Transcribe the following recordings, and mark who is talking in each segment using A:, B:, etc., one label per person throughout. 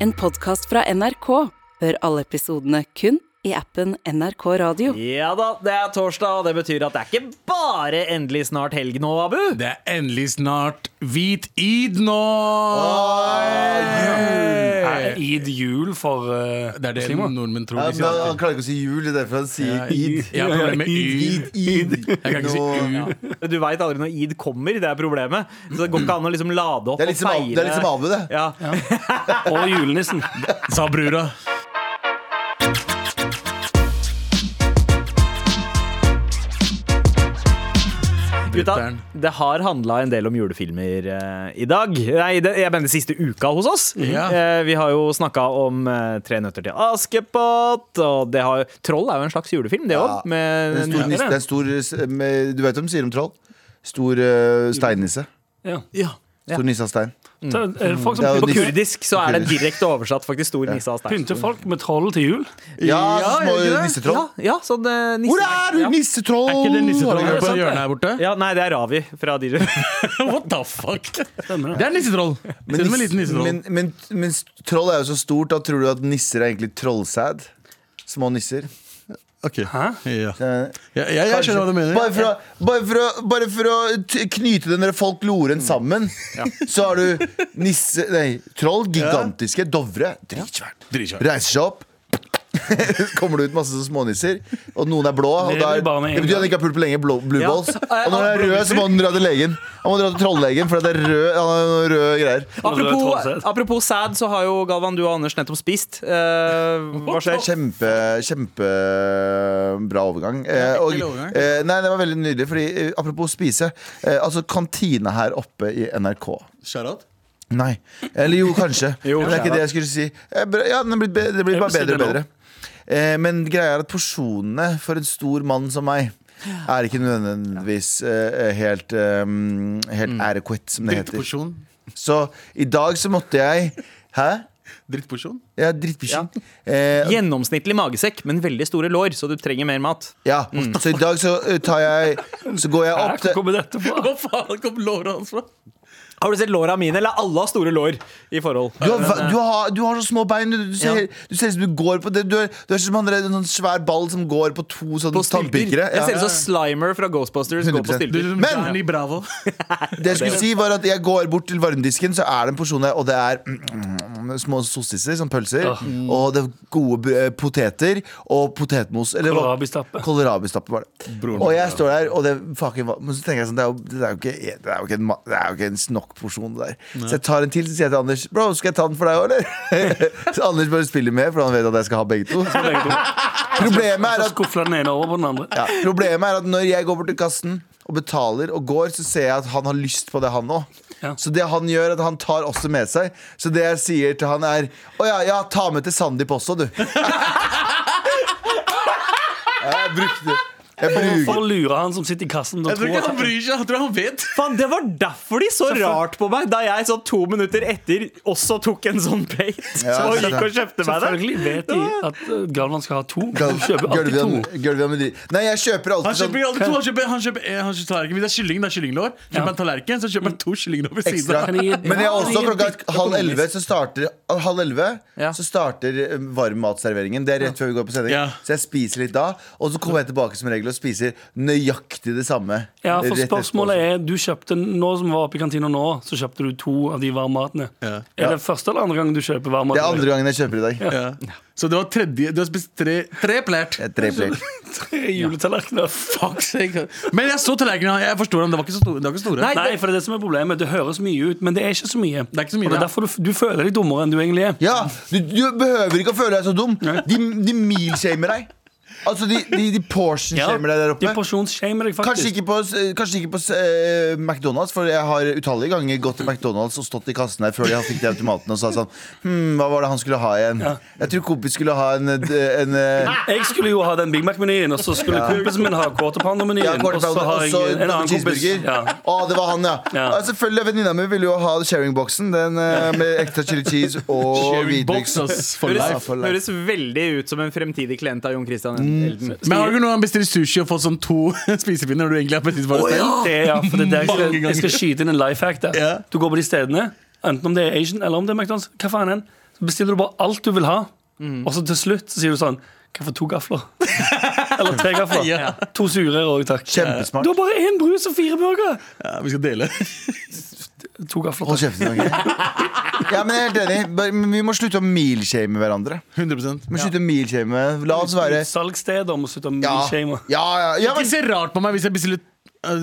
A: En podkast fra NRK. Hør alle episodene kun i appen NRK Radio.
B: Ja da, det er torsdag, og det betyr at det er ikke bare endelig snart helg nå, Abu.
C: Det er endelig snart hvit id nå!
D: Er id jul for eh,
C: Det er det
D: muslimer?
C: nordmenn tror. de
E: Ja, men
C: sier
E: han,
C: alltid.
E: han klarer ikke å si jul, det er derfor han sier id.
C: Jeg har problemer med y.
E: Id, id.
C: Jeg kan ikke si
E: Nå-
C: u.
B: Du veit aldri når id kommer, det er problemet. Så det går ikke an å liksom lade opp
E: Det er litt som
B: og
E: Abu-
B: feire.
E: det er litt som Abu, det.
B: Ja.
D: Og julenissen.
C: Sa brura.
B: Gutta,
C: Bruteren.
B: det har handla en del om julefilmer eh, i dag. Nei, det, jeg mener siste uka hos oss.
C: Ja.
B: Eh, vi har jo snakka om eh, Tre nøtter til Askepott, og det har Troll er jo en slags julefilm, det òg.
E: Ja. Det er en stor, nisse, det er en stor eh, med, Du vet hva de sier om troll? Stor eh, steinnisse.
D: Ja.
B: Ja.
E: Stor nisse av stein.
C: Mm.
D: Så, eh, folk
E: Det er
D: som
E: jo
B: På
D: pynter,
B: kurdisk så er det direkte oversatt faktisk stor nisse av stein.
D: pynter folk med troll til jul.
E: Ja,
B: Ja, gjør det
E: små
B: ikke det?
E: nissetroll.
B: Ja, ja, sånn eh, nisse.
E: Hvor er du, nissetroll?
C: Er ikke det nissetrollet på
E: sant?
C: hjørnet her borte?
B: Ja, nei, det er Ravi fra Dyre.
C: What the fuck?
D: Stemmer det.
C: Det er nissetroll.
E: Men,
C: Ser ut som en liten
E: nisse-
C: nissetroll.
E: men, men, men troll er jo så stort, da tror du at nisser er egentlig trollsæd? Små nisser.
C: Ok. Ja.
E: Eh,
C: Ja, ja, jeg skjønner hva du mener.
E: Bare for å, bare for å, bare for å t knyte den der folkloren sammen, så har du nisse Nei, troll. Gigantiske. Dovre. Dritsvært.
C: Dritsvært.
E: Reiser seg opp. Kommer det ut masse sånne smånisser, og noen er blå. Og
D: Lever
E: da er,
D: bare med en
E: det betyr at han ikke har pult på lenge. Blå, blue
B: Ja.
E: balls. Og når han er rød, så må han dra til legen. Han må dra til trolllegen, for det er rød, han har noen røde greier.
D: Troll
B: Apropos,
D: sæd.
B: apropos sæd, så har jo Galvan, du og Anders nettopp spist. Eh, hva
E: Det er
B: skjer?
E: kjempe, kjempebra overgang. Eh, og,
C: Ekkel overgang.
E: eh, nei, det var veldig nydelig. Fordi, eh, apropos spise. Eh, altså kantina her oppe i NRK.
C: Shout-out.
E: Nei. Eller jo, kanskje.
B: Jo,
E: Men det er ikke det jeg skulle si. Eh, bra- Ja, den blir, be- det blir bare
D: vil si
E: bedre og
D: det nå.
E: bedre. Eh, men greia er at porsjonene for en stor mann som meg er ikke nødvendigvis eh, helt, eh,
D: Mm.
E: helt adequate, som det heter.
C: Drittporsjon.
E: Så i dag så måtte jeg Hæ?
C: Drittporsjon.
E: Ja, drittbikkjen. Eh,
B: Gjennomsnittlig magesekk, men veldig store lår, så du trenger mer mat.
E: Ja,
B: Mm.
E: så i dag så eh, tar jeg Så går jeg
D: Her
E: opp til
D: kommer dette fra.
C: Hva faen kom låret hans fra?
B: Har du sett låra mine? Eller alle har store lår i forhold.
E: du har, du, har, du har så små bein. Du, du, ser,
B: Ja.
E: du ser ut som du går på det. Du er, du er som han der, en sånn svær ball som går på to sånne
B: På stilter.
E: tannpirkere.
B: Jeg ser ut
E: Ja.
B: som Slimer fra Ghostbusters går på
E: 100%.
B: stilter.
C: Du er som
E: Men-
C: Johnny Bravo.
E: Det jeg skulle si var at jeg går bort til varmdisken, så er det en porsjon der, og det er mm, mm, små sossiser, som pølser, og det er gode br- eh, poteter, og potetmos. eller hva-
D: Kålrabistappe.
E: Kålrabistappe var det.
C: Broren
E: Og
C: min
E: jeg står der, og det fucking var Men så tenker jeg sånn, det er jo, det er jo, ikke, det er jo, ikke, en, ma- det er jo ikke en nok porsjon, det der. Så jeg tar en til, så sier jeg til Anders Bro, skal jeg ta den for deg òg, eller? så Anders bare spiller med, for han vet at jeg skal ha begge to. Problemet er
D: Så
E: at
D: skuffer den ene over på den andre.
E: ja, problemet er at når jeg går bort til kassen og betaler og går, så ser jeg at han har lyst på det, han òg.
D: Ja.
E: Så det han gjør, er at han tar også med seg. Så det jeg sier til han, er Å ja, ja, ta med til Sandeep også, du. Ja, jeg brukte Jeg
D: For
E: bruker
D: å lure han som sitter i kassen og
C: Jeg tror
D: tror
C: ikke han
D: at
C: bryr seg. Jeg tror han vet.
B: Faen, Det var derfor de så rart på meg da jeg sånn to minutter etter også tok en sånn plate
E: Ja,
B: og
E: det er
B: gikk og kjøpte meg det.
D: Selvfølgelig vet de at eh, Galvan skal ha to. De kjøper alltid
E: Gulvian
D: to.
E: Gulvian med de Nei, jeg kjøper
C: Han
E: alltid
C: kjøper
E: sånn
C: alltid to. Han kjøper, han kjøper, eh, han kjøper tallerken. Hvis det er kylling, det er kyllinglår. Kjøper
D: Ja.
C: han tallerken, så kjøper han to kyllinglår ved siden
E: ekstra.
C: av.
D: Kan jeg gi-
E: Men jeg er også
D: Ja, det er
E: klokka halv
D: økonomisk.
E: elleve så starter Halv elleve
B: Ja.
E: Så starter eh, varmmatserveringen. Det er rett før vi går på sending.
C: Ja.
E: Så jeg spiser litt da, og så kommer jeg tilbake som regel og spiser nøyaktig det samme.
D: Ja,
E: rett
D: for
E: etterpå. altså.
D: spørsmålet er Du kjøpte, nå som vi var oppe i kantina nå, så kjøpte du to av de varmmatene.
C: Ja.
D: Er det første eller andre gang du kjøper varmmat?
E: Det er andre gangen jeg kjøper i dag.
C: Ja. Så det var tredje Du har spist tre, tre plært.
E: Jeg er Tre plate.
D: Tre juletallerkener.
C: Fuck sake. Men jeg så tallerkenene. Jeg forstår dem. Det var ikke så store. Det var ikke store.
B: Nei,
D: Nei, for det er det som er problemet. Det høres mye ut, men det er ikke så mye.
C: Det er ikke så mye,
D: Og det
C: ja.
D: er derfor du, f- du føler deg dummere enn du egentlig er.
E: Ja, du, du behøver ikke å føle deg så dum. De, de mealshamer deg. Altså, de, de, de portion-shamer deg der
D: de
E: oppe.
D: porsjonsshamer deg
E: Kanskje
D: faktisk.
E: ikke på, kanskje ikke på eh, McDonald's, for jeg har utallige ganger gått til McDonald's og stått i kassen her før de fikk de automatene og sa sånn Hm, hva var det han skulle ha igjen? Jeg tror kompis skulle ha en, en, eh,
D: Jeg skulle jo ha den Big Mac-menyen, og så skulle kompisen min ha Quarterpounder-menyen.
E: ja,
D: og så har jeg en annen kompis.
E: cheeseburger.
D: Ja.
E: Å, det var han, ja.
D: Ja.
E: ja. Selvfølgelig, Venninna mi ville jo ha sharing-boksen. Den eh, med ekstra chili cheese og
C: Sharing box,
E: hvitløk.
C: ass. For
B: Høres,
C: life.
E: for life. Mm.
B: høres veldig ut som en fremtidig klient av Jon Christian Elden.
C: Men har du ikke noe han bestiller sushi og får sånn to spisepinner når du egentlig har bestilt for deg selv?
D: Det, er- ja, for det er der jeg
C: Mange
D: skal,
C: ganger.
D: jeg skal skyte inn en life hack der.
C: Ja.
D: Du går på de stedene, enten om det er Asian eller om det er McDonald's. Hva faen enn. Så bestiller du bare alt du vil ha,
E: Mm.
D: og så til slutt så sier du sånn Kan jeg få to gafler? Eller tre gafler.
C: Ja.
D: To sure òg, takk.
E: Kjempesmart.
D: Du har bare én brus og fire burgere!
C: Ja, vi skal dele.
D: To gafler,
E: Hold
D: takk.
E: kjeften, Norge. Ja, men jeg er helt enig. Bare- men Vi må slutte å milshame hverandre.
C: 100
E: Vi må slutte å milshame. La oss være
D: Salgssteder må slutte å
E: Ja,
D: milshame.
E: ja, ja, ja
C: Ikke
E: men,
C: se rart på meg hvis jeg bestiller eh,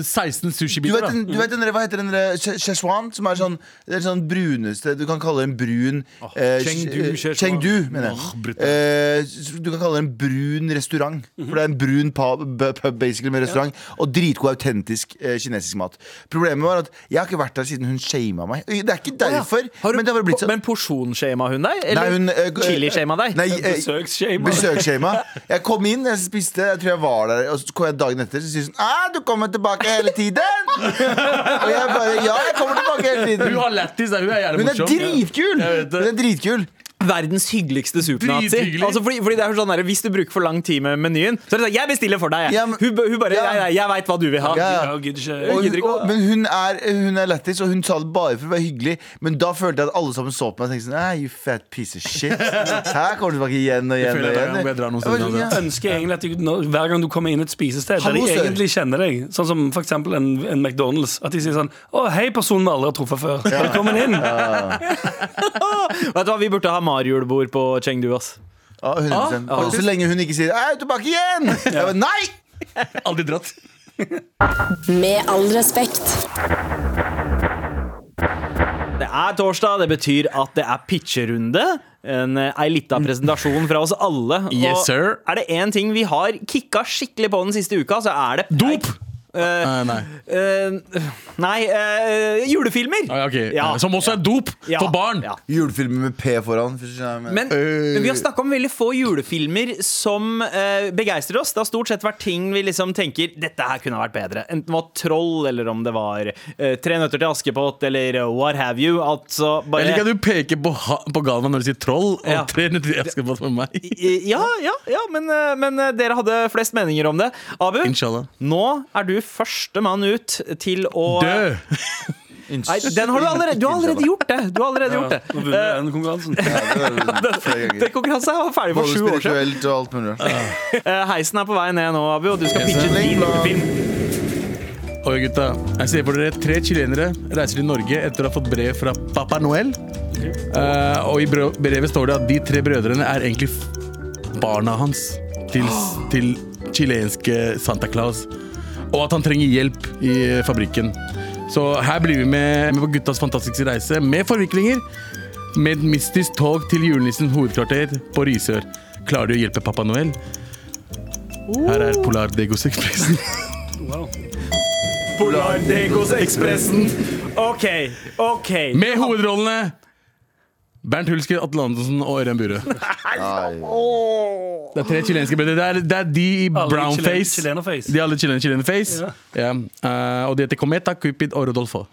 C: 16
E: du vet,
C: sushibiter. da.
E: den- du vet den, der- hva heter den der che- Szechuan? Som er sånn, det er sånn bruneste Du kan kalle det en brun eh,
B: Ah, Chengdu
E: eh,
B: Szechuan. Ah,
E: Chengdu, mener jeg.
C: Åh, brutal.
E: Eh, s- du kan kalle det en brun restaurant.
B: Mhm.
E: For det er en brun pub, bu- pub basically med restaurant. Og dritgod, autentisk eh, kinesisk mat. Problemet var at jeg har ikke vært der siden hun shama meg. Det er ikke derfor,
B: Har du,
E: men det har bare blitt sånn.
B: Men porsjonsskjema hun deg? Eller
E: Nei, hun, eh,
B: chiliskjema deg?
E: Nei, eh,
D: Besøksshame.
E: Besøksskjema. Jeg kom inn, jeg spiste, jeg tror jeg var der. Og så kom jeg dagen etter, så sier hun sånn «Ah, du kommer tilbake hele tiden! Og jeg bare Ja, jeg kommer tilbake hele
C: Hun
E: tiden.
C: har lættis, da. hun er jævlig
E: Hun er
C: morsom.
E: dritkul!
C: Jeg vet det.
E: Hun er dritkul.
B: Verdens hyggeligste supernazi.
C: Drithyggelig.
B: Altså fordi, fordi det er jo sånn der, Hvis du bruker for lang tid med menyen, så er det sånn Jeg bestiller for deg, jeg.
E: Ja, men-
B: hun, b- hun bare
E: Ja.
B: Nei, nei, jeg veit hva du vil ha.
E: Ja, ja.
D: Jeg gidder ikke.
E: Og,
B: gidder ikke
E: og,
B: å-
E: men hun er, hun er lættis, og hun sa det bare for å være hyggelig. Men da følte jeg at alle sammen så på meg og tenkte sånn «Ah, You fat piece of shit. Her kommer du tilbake igjen og igjen.
C: føler
E: og
C: at
E: igjen.
C: jeg må dra noen
E: Jeg var
C: steder,
E: sånn,
C: altså.
E: «Ja».
D: Jeg ønsker egentlig at de, når, hver gang du kommer inn et spisested der de
E: Hallo, sir.
D: egentlig kjenner deg, sånn som f.eks. En, en McDonald's, at de sier sånn Å, hei, personen vi aldri har truffet før. Velkommen inn.
B: Vet du hva, Vi burde ha Mario-julebord på Chengdu. ass
E: Ja, 100%.
B: Ah,
E: Og så lenge hun ikke sier «Ah, 'Jeg er tilbake igjen', jeg bare, nei!
C: Aldri dratt.
F: Med all respekt.
B: Det er torsdag, det betyr at det er pitcherunde. En, eh, ei lita presentasjon fra oss alle.
C: Yes, sir.
B: er det én ting vi har kicka skikkelig på den siste uka, så er det
C: Dop!
B: Eh,
C: Nei, nei.
B: eh, nei eh, julefilmer!
C: Ah, ja, ok.
B: Ja.
C: Som også er dop
B: Ja.
C: for barn.
B: Ja.
E: Julefilmer med P foran. hvis du skjønner hva jeg mener.
B: Men, men vi har snakka om veldig få julefilmer som eh, begeistrer oss. Det har stort sett vært ting vi liksom tenker Dette her kunne vært bedre. Enten det var Troll, eller om det var eh, Tre nøtter til Askepott, eller eh, what have you. Altså
C: Jeg liker
B: bare
C: at du peker på, ha- på Galvan når du sier troll, og
B: Ja.
C: tre nøtter jeg skal få med meg.
B: I- Ja, ja, ja, men, eh, men eh, dere hadde flest meninger om det. Abu,
C: Inshallah.
B: nå er du førstemann ut til å
C: Dø!
B: Nei, den har du allerede, du har allerede gjort det! Du har allerede
D: Ja,
B: gjort det.
D: nå vinner jeg den konkurransen.
E: Flere ganger.
B: Den konkurransen var ferdig for
E: Både
B: sju år siden.
E: spirituelt og alt mulig.
B: Eh, Heisen er på vei ned nå, Abu, og du skal pitche din julefilm.
C: Oi, gutta. Jeg ser for dere tre chilenere reiser til Norge etter å ha fått brev fra Papa Noel. Eh, og i bro- brevet står det at de tre brødrene er egentlig f- barna hans til, s- til chilenske Santa Claus. Og at han trenger hjelp i eh, fabrikken. Så her blir vi med, med på guttas fantastiske reise med forviklinger. Med et mystisk tog til julenissens hovedkvarter på Risør. Klarer de å hjelpe Papa Noel? Her er Polar Degos Expressen.
D: Wow.
B: Polardegosekspressen. OK, OK.
C: Med hovedrollene Bernt Hulsker, Atle Antonsen og Ørjan Burøe. Det er tre chilenske brødre. Det er, det er de i
D: Alle
C: brownface.
D: chilen- chilenerface.
C: De er alle chilen, chilenerface. Ja. Eh, og de heter Cometa, Cupid og Rodolfo.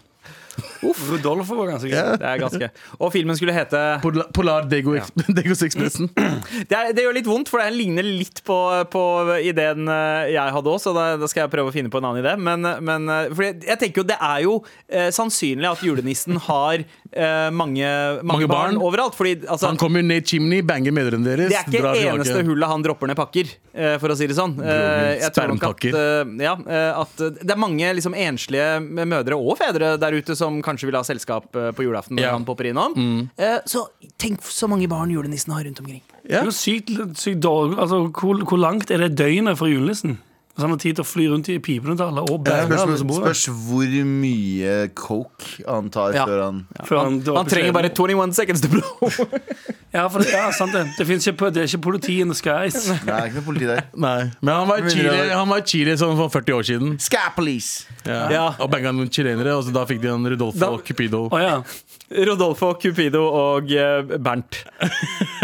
D: Rodolfo var ganske gøy.
B: Det er ganske Og filmen skulle hete
C: Polar, Polar Dego, Degos Expressen.
B: Det, er, det gjør litt vondt, for den ligner litt på, på ideen eh, jeg hadde òg, så da, da skal jeg prøve å finne på en annen idé. Men, men eh, for jeg, jeg tenker jo det er jo eh, sannsynlig at julenissen har eh, mange, mange,
C: Mange
B: barn,
C: barn.
B: overalt. Fordi altså,
C: Han kommer ned chimney, banger mødrene deres.
B: det er ikke
C: drar
B: det
C: tilbake.
B: eneste hullet han dropper ned pakker, eh, for å si det sånn. Eh, jeg tror nok at, eh, ja, eh, at det er mange liksom, enslige mødre og fedre der ute som kanskje vil ha selskap eh, på julaften når
C: Ja.
B: han popper innom. Eh, så tenk så mange barn julenissen har rundt omkring.
D: Det er jo sykt, sykt dårlig altså, hvor, hvor langt er det døgnet fra julenissen? Så han har tid til å fly rundt i pipene til alle og bære alle
E: Spørs,
D: som bor der.
E: spørs hvor mye coke han tar
B: Ja.
E: før han
D: Før han drar
B: Han
D: på
B: trenger
D: scenen.
B: bare 21 seconds to blow.
D: Ja, for det, ja, sant det. Det, finnes ikke, det er ikke politi in the skies.
E: Nei, det er ikke noe politi der.
C: Nei. Men han var i Chile, han var i Chile sånn for 40 år siden.
E: Sky police!
C: Ja.
B: Ja.
C: Og banga noen chilenere, og så da fikk de han Rodolfo
B: Da-
C: og Cupido.
D: Å ja.
B: Rodolfo, Cupido og eh, Bernt.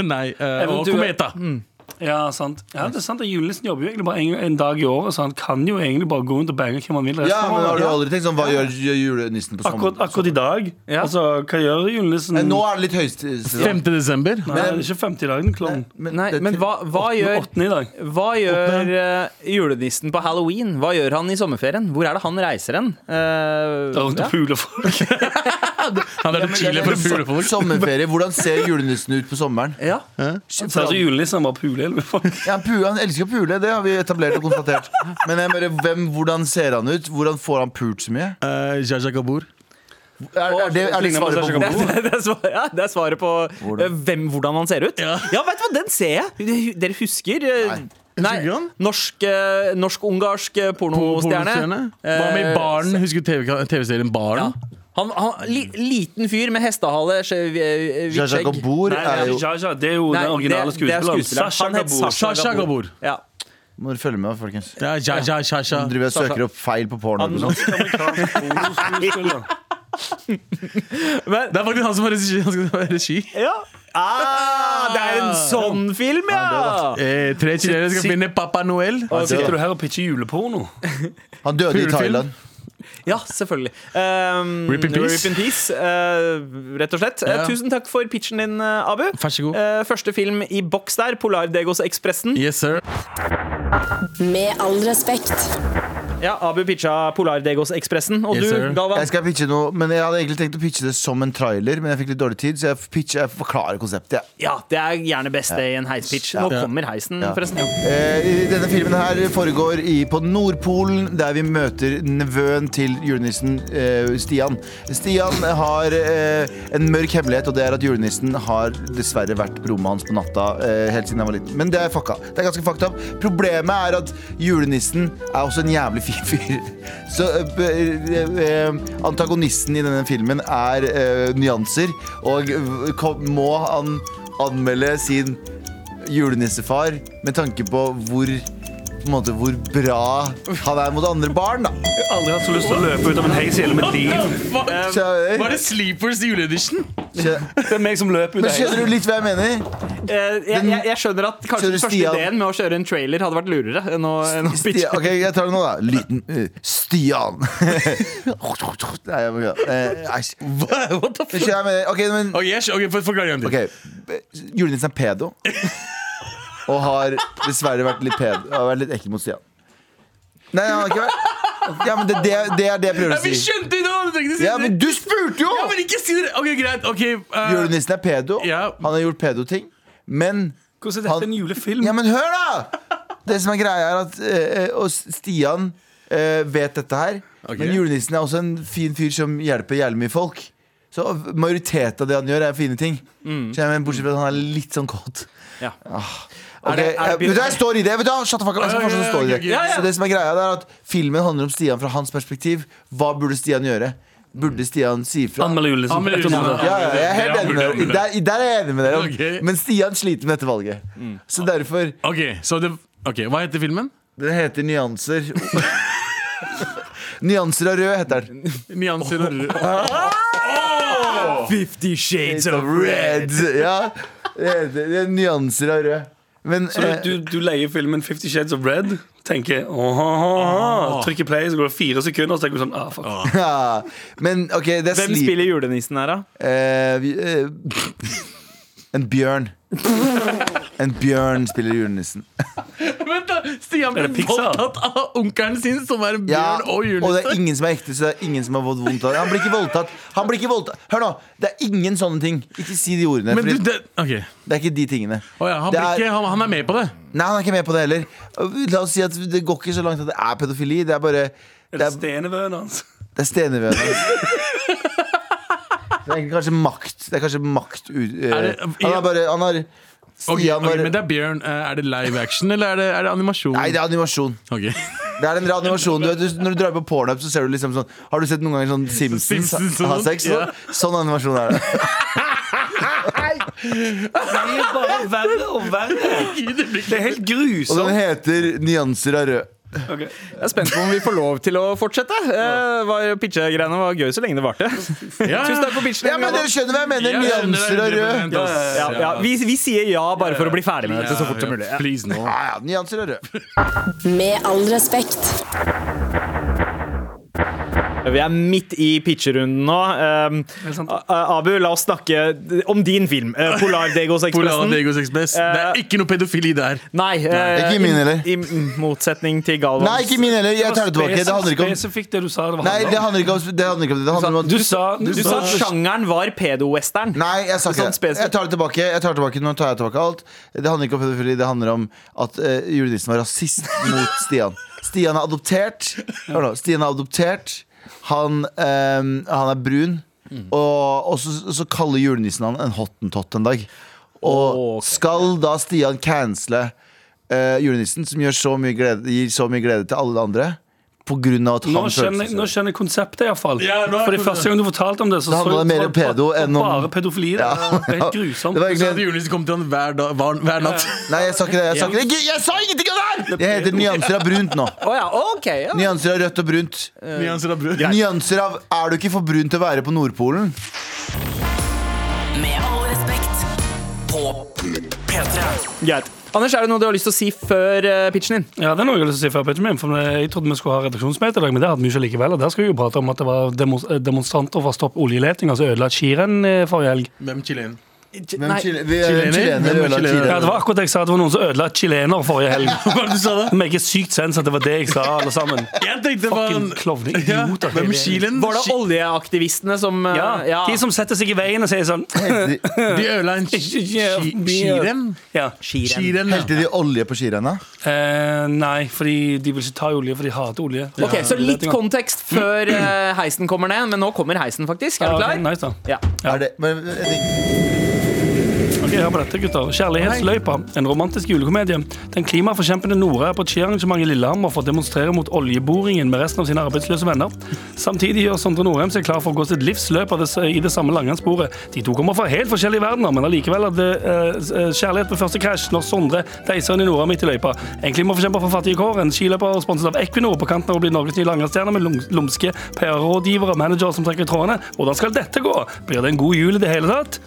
C: Nei, eh, og
D: Eventuelt-
C: Cometa.
D: Mm. ja, sant. Ja, det er sant. at Julenissen jobber jo egentlig bare en, en dag i året, så han kan jo egentlig bare gå rundt og bange hvem han vil. resten
E: Ja,
D: av
E: men
D: året.
E: Har du aldri tenkt sånn hva gjør julenissen på sommeren?
D: Akkurat, akkurat i dag.
B: Ja.
D: Altså, hva gjør julenissen?
E: Nei, nå er det litt høysesong.
C: 5. desember.
D: Nei, det er ikke 50 i dag, den klovn.
B: Nei,
E: det er
B: men
E: tre-
B: hva, hva gjør,
D: Åttende i dag.
B: hva gjør eh, julenissen på halloween? Hva gjør han i sommerferien? Hvor er det han reiser hen? Eh,
D: Det er rundt
B: ja.
D: og puler folk.
C: Han er til Chile for fuglefolk.
E: Sommerferie. Hvordan ser julenissen ut på sommeren?
B: Ja.
D: Så altså, julenissen bare puler hele folk.
E: Ja, han, puler, han elsker å pule, det har vi etablert og konstatert. Men jeg bare, hvem, hvordan ser han ut? Hvordan får han pult så mye?
C: Eh, Jaja Kabur.
E: Er, er, det, er det
D: Ligner på
E: svaret
D: Sasha
E: på
D: Gabo.
B: Det, det, er svar, ja, det er svaret på eh, hvem, hvordan han ser ut. Ja, vet du hva, den ser jeg! Dere husker? eh,
E: Nei.
C: Husker han?
B: Norsk, eh, norsk-ungarsk eh, pornostjerne.
C: Pornostjerne. Hva
E: Eh,
C: med Baren? Husker du TV- TV-serien Baren?
B: Han, han, li, liten fyr med hestehale, skje- eh, hvitt
E: Jaja
B: skjegg.
E: Gabor
D: Nei,
E: er
D: det er
E: jo
D: ikke Jaja, det er jo
B: Nei,
D: den originale
B: det- det er
D: skuespilleren.
B: skuespilleren.
D: Sasha
B: Han het
D: Gabor.
B: Sasha.
C: Sasha Kabur.
B: Ja.
E: Må dere følge med, folkens.
C: Ja, Jaja, Jaja.
E: Driver jeg og søker opp feil på porno. eller noe sånt.
D: Amerikansk pornoskuespiller.
B: Men,
C: Det er faktisk han som har regi. Han skal ha regi.
B: ja. Ah, det er en sånn film, ja!
C: Eh, tre chilenere skal finne Papa Noel.
D: Sitter du her og pitcher juleporno?
E: Han døde i
C: Pulefilm.
E: Thailand.
B: Ja, selvfølgelig. Um,
C: Rip in peace.
B: peace, eh, rett og slett. Eh,
C: Ja.
B: tusen takk for pitchen din, eh, Abu.
C: Vær så god.
B: Eh, første film i boks der, Polardegos-ekspressen.
C: Yes, sir.
F: Med all respekt.
B: Ja, Abu pitcha Polardegos-ekspressen. Og
C: Yes,
B: du,
C: sir.
B: Galvan?
E: Jeg skal pitche noe, men jeg hadde egentlig tenkt å pitche det som en trailer, men jeg fikk litt dårlig tid, så jeg, pitcher, jeg forklarer konseptet. jeg.
B: Ja, det er gjerne best det i en heispitch. Nå
C: Ja.
B: kommer heisen,
E: Ja.
B: forresten.
E: Eh, i denne filmen her foregår i, på Nordpolen, der vi møter nevøen til julenissen, eh, Stian. Stian har eh, en mørk hemmelighet, og det er at julenissen har dessverre vært på rommet hans på natta eh, helt siden han var liten. Men det er fucka. Det er ganske fucked up. Problemet er at julenissen er også en jævlig fin fyr. Så eh, b- eh, eh, antagonisten i denne filmen er eh, nyanser, og eh, kom, må han anmelde sin julenissefar med tanke på hvor på en måte hvor bra han er mot andre barn, da.
D: Jeg har aldri hatt så lyst til å løpe ut av en heis i hele mitt liv.
C: Hva-
E: Skjønner du?
C: Um, Var det Sleepers juleedition?
E: Skjø-
D: Det er meg som løper ut
E: Men
D: av heisen.
E: skjønner du litt hva jeg mener?
B: Eh, jeg, jeg, jeg skjønner at kanskje
E: Kjører
B: den første
E: Stian.
B: ideen med å kjøre en trailer hadde vært lurere enn å, enn å pitche.
E: Stian, ok, jeg tar det nå, da. Liten eh, Stian. Nei, jeg må ikke eh, Æsj.
C: Hva- What the
E: Skjønner du
C: fuck?
E: hva jeg mener? Ok, men
C: Ok, jeg skj- Oh, ok, for- Forklar igjen. til.
E: Ok, julenissen er pedo. Og har dessverre vært litt pedo Har vært litt ekkel mot Stian. Nei, han har ikke vært Ja, men det, det, det er det jeg prøver
C: Ja, vi
E: å si.
C: skjønte det! Du trengte å si
E: Ja,
C: det.
E: men du spurte jo!
C: Ja, men ikke si det! Ok, greit. ok eh,
E: Julenissen er pedo.
C: Ja.
E: Han har gjort pedoting. Men
D: Hvordan er dette
E: Han-
D: en julefilm?
E: Ja, men hør, da! Det som er greia, er at eh, eh, Og Stian eh, vet dette her.
C: Ok.
E: Men julenissen er også en fin fyr som hjelper jævlig mye folk. Så majoriteten av det han gjør, er fine ting.
C: Mm.
E: Så jeg mener, bortsett fra at han er litt sånn kåt.
B: Ja.
E: Ok,
B: det- er det-
E: eh, vet du, hva, jeg står i det! Vet du, hva? Shut the fuck up, jeg skal
C: Ja, ja,
E: fortsatt stå i det.
C: ja, ja,
B: ja.
E: Så det som er greia, det er at filmen handler om Stian fra hans perspektiv. Hva burde Stian gjøre?
C: Mm.
E: Burde Stian si fra?
D: Anmeld
C: Han
D: julenissen.
C: blir
D: Jeg tror
C: julenissen.
D: det.
E: Ja, ja, jeg er helt
C: Ja,
E: enig med
C: burde-
E: dere. Der, der er jeg enig med dere.
C: Ok.
E: Men Stian sliter med dette valget.
D: Mm.
E: Så derfor
C: Ok, så det Ok, Hva heter filmen?
E: Den heter Nyanser. Nyanser av rød heter den.
C: Nyanser og rød.
B: Fifty Shades
E: Ja, det heter, det er Nyanser av rød. Men
D: Så
E: eh,
D: du, du, du leier filmen Fifty Shades of Red, tenker åh, trykker play, så går det fire sekunder, og så tenker du sånn ah, fuck.
E: eh, ja. Men OK, det er
B: Hvem
E: sleep.
B: spiller julenissen her, da?
E: Eh, vi, eh, en bjørn. En bjørn spiller julenissen.
C: Vent, da! Stian
D: Er
C: ble
D: det Pixar?
C: voldtatt av onkelen sin, som er en
E: Ja,
C: bjørn og
E: og det er
C: julenisse.
E: ingen som er ekte, så det er ingen som har fått vondt av det. Han blir ikke voldtatt. Han blir ikke voldtatt. Hør nå! Det er ingen sånne ting. Ikke si de ordene.
C: Men du,
E: fordi
C: det Ok.
E: det er ikke de tingene.
C: Å ja, han,
E: Det
C: blir
E: er-
C: ikke, han, han er med på det.
E: Nei, han er ikke med på det heller. La oss si at Det går ikke så langt at det er pedofili. Det er bare
D: Er
E: Det
D: det
E: er,
D: stenevøen hans?
E: det er stenevøen hans. Det er egentlig kanskje makt. Det er kanskje makt ut, eh,
C: Er det-
E: Han er bare Han har
C: Ok,
E: Stian
C: ok,
E: var
C: men det er bjørn. Eh, Er det live action, eller er det, er det animasjon?
E: Nei, det er animasjon.
C: Ok.
E: Det er en rar animasjon. Du, vet, du, når du drar på pornhub, så ser du liksom sånn Har du sett noen ganger sånn Simpsons,
C: Simpsons
E: ha, ha
C: sånn,
E: sex?
C: ja.
E: Sånn animasjon er det.
D: Det blir bare verre og verre. Det er
E: Og
D: helt
E: den
D: grusomt.
E: heter Nyanser av rød.
D: Ok.
B: Jeg er spent på om vi får lov til å fortsette. Eh, var- Pitchegreiene var gøy så lenge det varte.
C: Ja,
B: Tusen takk for pitchen.
E: Ja, men Dere skjønner hva jeg mener!
C: Ja, ja,
E: Nyanser av rød.
C: 100%, ass.
B: ja, ja. Vi, vi sier ja bare for å bli ferdig med dette så fort som
C: Ja,
B: mulig.
C: ja, Please, nå.
E: Ja, ja, nyanser av rød.
F: Med all respekt.
B: Vi er midt i pitcherunden nå. Um,
D: Helt sant.
B: A- A- Abu, la oss snakke om din film, eh, 'Polardegos-ekspressen'.
C: Polar Degos Express. Det er ikke noe pedofili der.
B: Nei. eh,
E: Ikke i min heller.
B: I, i motsetning til Galvans.
E: Nei, ikke min heller. Jeg tar det tilbake. Det handler ikke om
D: Spesifikt det du sa det var
E: Nei, det handler ikke om det. Handler ikke om, det. det handler om at
D: Du sa, du
B: Du sa at sjangeren var pedo-western.
E: Nei, jeg sa ikke
B: Sånn
E: det.
B: spesifikt.
E: Jeg tar det tilbake. Jeg tar det tilbake. Nå tar jeg tilbake alt. Det handler ikke om pedofili, det handler om at uh, Julie Nilsen var rasist mot Stian. Stian er adoptert. Hør nå. Stian er adoptert. Han, ehm, han er brun.
D: Mm.
E: Og, og så, så kaller julenissen han en hottentott en dag. Og
B: Ok.
E: skal da Stian cancele eh, julenissen, som gjør så mye glede, gir så mye glede til alle andre, på grunn av at
D: Nå
E: han
D: skjønner,
E: følte
D: jeg- nå
E: seg
D: skjønner jeg konseptet, iallfall.
C: Ja, nå er
D: Fordi
C: det-
D: første gang du fortalte om det, så
E: Det handler mer om pedo
D: bare-
E: enn om-
D: Bare pedofili. Det er helt grusomt.
E: Det var
C: Så
E: egentlig
C: hadde julenissen kommet til han hver, dag, hver, hver natt.
E: Nei, jeg sa ikke det. Jeg sa, ikke det. Jeg sa ingenting om det her! Jeg heter nyanser av brunt nå.
B: Å ja, ok ja.
E: Nyanser av rødt og brunt.
C: Nyanser av brød.
E: Nyanser av er du ikke for brun til å være på Nordpolen?
F: Med all respekt.
B: Greit. Anders, er det noe du har lyst til å si før eh, pitchen din?
D: Ja, det er noe jeg har lyst til å si før Benjamin, for jeg trodde vi skulle ha redaksjonsmøte i dag, men det hadde vi ikke likevel. Og der skal vi jo prate om at det var demos- eh, demonstranter for å stoppe oljeleting, altså ødela et skirenn eh, forrige helg.
C: Hvem chilen?
E: Hvem chile- vi-
C: Chilener?
E: chilener,
C: Hvem er
E: øla,
C: chilener?
E: chilener.
D: Ja, det var akkurat det jeg sa, det var noen som ødela et chilener forrige helg.
C: Hva var det du sa da?
D: Vi er ikke sykt sens at det var det jeg sa, alle sammen.
C: Jeg tenkte
D: Fucking klovner, idioter.
C: Hvem chilen?
B: Var det oljeaktivistene som eh,
D: Ja,
B: ja.
D: De som setter seg i veien og sier sånn
C: De ødela en chiren?
D: Ja.
C: Chiren, ja.
E: Helte de olje på skirenna?
D: Eh, nei, fordi de vil ikke ta i olje, for de hater olje.
B: Ok, Så litt
D: Oljeleting.
B: kontekst før eh, heisen kommer ned, men nå kommer heisen, faktisk. Er du
D: Mm. Ja, ok,
B: klar?
D: nice, da.
B: Ja.
E: Er det- men- jeg tenker-
D: Ok, hør på dette, gutter. Kjærlighetsløypa, en romantisk julekomedie. Den klimaforkjempende Nora er på et skiarrangement i Lillehammer for å demonstrere mot oljeboringen med resten av sine arbeidsløse venner. Samtidig gjør Sondre Norheim seg klar for å gå sitt livs løp av det, i det samme langrennssporet. De to kommer fra helt forskjellige verdener, men allikevel er det eh, s- eh, kjærlighet ved første krasj når Sondre deiser inn i Nora midt i løypa. En klimaforkjemper fra fattige kår, en skiløper sponset av Equinor på kanten av å bli Norges nye langrennsstjerne med lum- lumske PR-rådgivere og manager som trekker i trådene. Hvordan skal dette gå? Blir det en god jul i det hele tatt?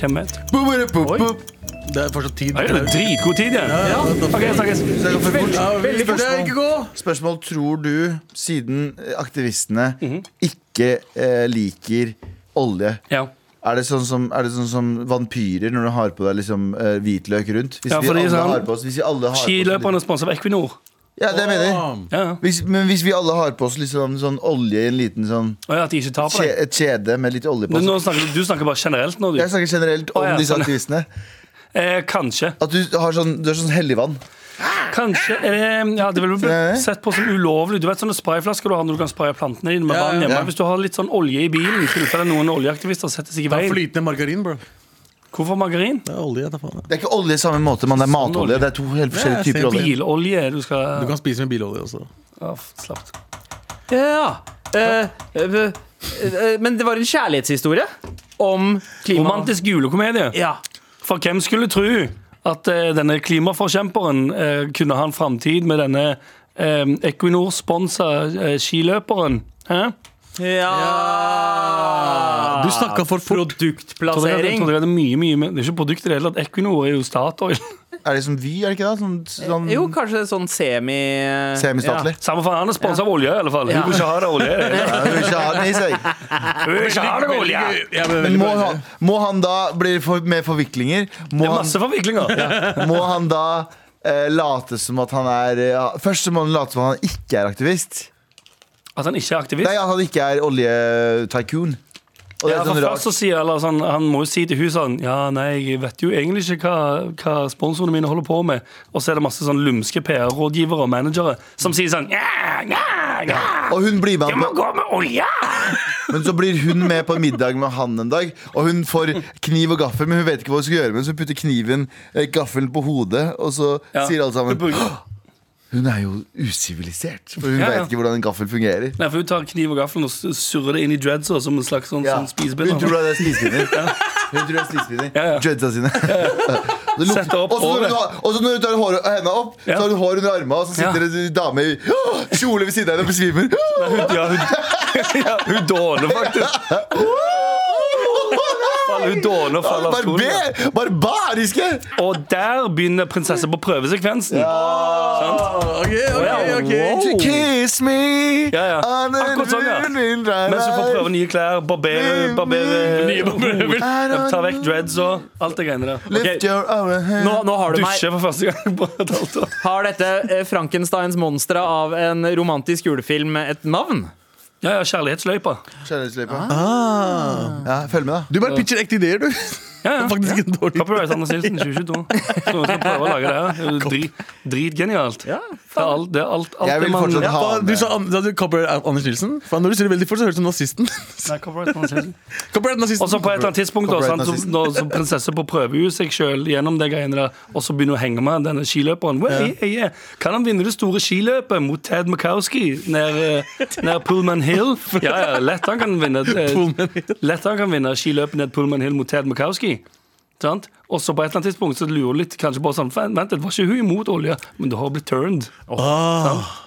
D: Hvem vet?
E: Boop, boop, boop,
D: Oi.
E: boop.
C: Det er fortsatt tid.
D: Ja, det er dritgod tid, jeg. Ja. Ok, snakkes.
E: Så jeg går for
C: Ja,
E: bort.
C: veldig spørsmål. Ikke gå.
E: Spørsmål tror du, siden eh, aktivistene ikke eh, liker olje
D: Ja.
E: er det, sånn som, er det sånn som vampyrer når du har på deg liksom, eh, hvitløk rundt? Hvis
D: Ja,
E: vi
D: fordi
E: alle
D: sånn-
E: har på oss Hvis vi alle har på oss
D: Skiløperne er sponset av Equinor.
E: Ja, det mener jeg.
D: Ja.
E: Hvis, men hvis vi alle har på oss liksom, sånn olje i en liten sånn
D: Og ja, at de ikke tar på
E: kje,
D: deg.
E: et kjede med litt olje på
D: Men
E: seg.
D: Nå snakker, du snakker bare generelt nå, du.
E: Jeg snakker generelt om
D: Å, ja,
E: disse
D: sånn.
E: aktivistene.
D: Eh, kanskje.
E: At du har sånn, du er sånn helligvann.
D: Kanskje er det, ja, det ville blitt sett på som ulovlig. Du vet sånne sprayflasker du har når du kan spraye plantene dine med
C: Ja, ja.
D: vann hjemme. Hvis du har litt sånn olje i bilen, i tilfelle noen oljeaktivister setter seg i
C: Det er
D: veien.
C: flytende margarin, bro.
D: Hvorfor margarin?
C: Det er olje. Da, faen.
E: Det er ikke olje i samme måte, men det er matolje.
D: Sånn olje.
E: Det er to helt
C: Ja,
E: forskjellige typer
C: same
E: olje.
D: Bilolje du
C: Du
D: skal
C: kan spise med bilolje også.
D: Å, f- Slapp av.
B: Ja. Eh, eh, eh, men det var en kjærlighetshistorie om klima...
D: Romantisk julekomedie.
B: Ja.
D: For hvem skulle tro at eh, denne klimaforkjemperen eh, kunne ha en framtid med denne eh, Equinor-sponsa eh, skiløperen? Hæ?
B: Ja
C: Du snakka for fort.
D: Trodde jeg, hadde-
B: Produktplassering.
D: trodde jeg hadde mye, mye mer. Det er ikke produkter i det hele tatt. Equinor er jo Statoil.
E: Er det som Vy, er det ikke det? Sånn,
D: Eh,
E: sånn
B: Jo, kanskje sånn semi
E: semistatlig.
D: Samme faen, han er sponsa av olje, i alle fall.
B: Ja.
D: Hun vil ikke ha det olje.
E: Ja, jeg vil ikke ha den i seg.
D: Hun vil ikke ha det olje.
C: Ja, men,
E: Men
C: veldig
E: må,
C: bra.
E: han, må han da bli for, med forviklinger? Må
D: Det er
E: han,
D: masse forviklinger.
E: må han da eh, late som at han er ja, Først så må han late som at han ikke er aktivist.
D: At han ikke er aktivist.
E: Nei, at han ikke er oljetycoon. Og det
D: Ja,
E: er
D: for
E: sånn
D: først
E: rart.
D: så sier eller sånn, Han må jo si til hun sånn Ja, nei, jeg vet jo egentlig ikke hva, hva sponsorene mine holder på med. Og så er det masse sånn lumske PR-rådgivere og managere som sier sånn ja, ja, ja,
E: Og hun blir med
D: Jeg
E: han
D: må
E: på
D: gå med olje!
E: Men så blir hun med på middag med han en dag, og hun får kniv og gaffel, men hun vet ikke hva hun skal gjøre med den, så hun putter kniven, eh, gaffelen på hodet, og så
D: Ja.
E: sier alle sammen
D: Du bruker-
E: «Åh, Hun er jo usivilisert, for hun
D: Ja, ja.
E: vet ikke hvordan en gaffel fungerer.
D: Nei, for Hun tar kniv og gaffel og surrer det inn i dreadsa som en slags sånn,
E: Ja.
D: sånn
E: Hun tror
D: spisepinne.
E: det er spisepinner. Hun tror det er spisepinner.
D: Ja, ja.
E: Dreadsa sine. Det lukter-
D: Sett opp
E: og så når
D: håret.
E: hun har- Og så når hun tar håret, henda opp,
D: Ja.
E: så har hun hår under armene, og så sitter
D: Ja.
E: det en dame i «Åh, kjole ved siden av henne og besvimer.
D: Ja, hun, ja, hun dåner faktisk. faller ut dårlig og faller av skolen.
E: Barber! Barbariske!
D: Og der begynner prinsesse på prøvesekvensen. Sånn.
C: Ok, ok, ok
E: Won't you kiss me? Ah,
D: Ja, ja. Akkurat sånn, ja. Mens du får prøve nye klær, barbere, barbere
E: Mm. barberer.
D: Ta vekk dreads og alt det greiene der.
E: Lift your own hand.
B: Nå, nå har du meg.
D: Dusje for første gang på et halvt år.
B: Har dette eh, Frankensteins monstre av en romantisk julefilm et navn?
D: Ja, ja, kjærlighetsløypa.
E: Kjærlighetsløypa.
D: Ah.
E: Ja, følg med, da.
C: Du bare pitcher ekte ideer, du.
D: Ja, ja.
C: Faktisk en dårlig
D: Copyright Anders Nilsen 2022. Så vi skal prøve å lage det her. Det er dri- Dritgenialt. Det er alt, det er alt, alt
E: Jeg vil
D: det man-
E: fortsatt ha
C: Faen, Du sa, an- sa du copyright Anders Nilsen? Faen, når du sier det veldig fort, så høres det ut som nazisten.
D: Nei, copyright Anders Nilsen.
C: Copyright nazisten
D: Og så på et eller annet tidspunkt da,
E: Copyright
D: sant, så,
E: nazisten.
D: når, så prinsesse på prøver jo seg selv gjennom det greiene der, og så begynner hun å henge med denne skiløperen. Well, yeah, yeah. Kan han vinne det store skiløpet mot Ted Murkowski nær, eh, nær Pullman Hill? Ja, ja, lett han kan vinne eh,
C: Pullman Hill.
D: Lett han kan vinne skiløpet ned Pullman Hill mot Ted Murkowski. Sant? Og så på et eller annet tidspunkt så lurer hun litt kanskje på sånn, "Fan, Vent litt, var ikke hun imot olje? Men det har blitt turned.
C: Ah,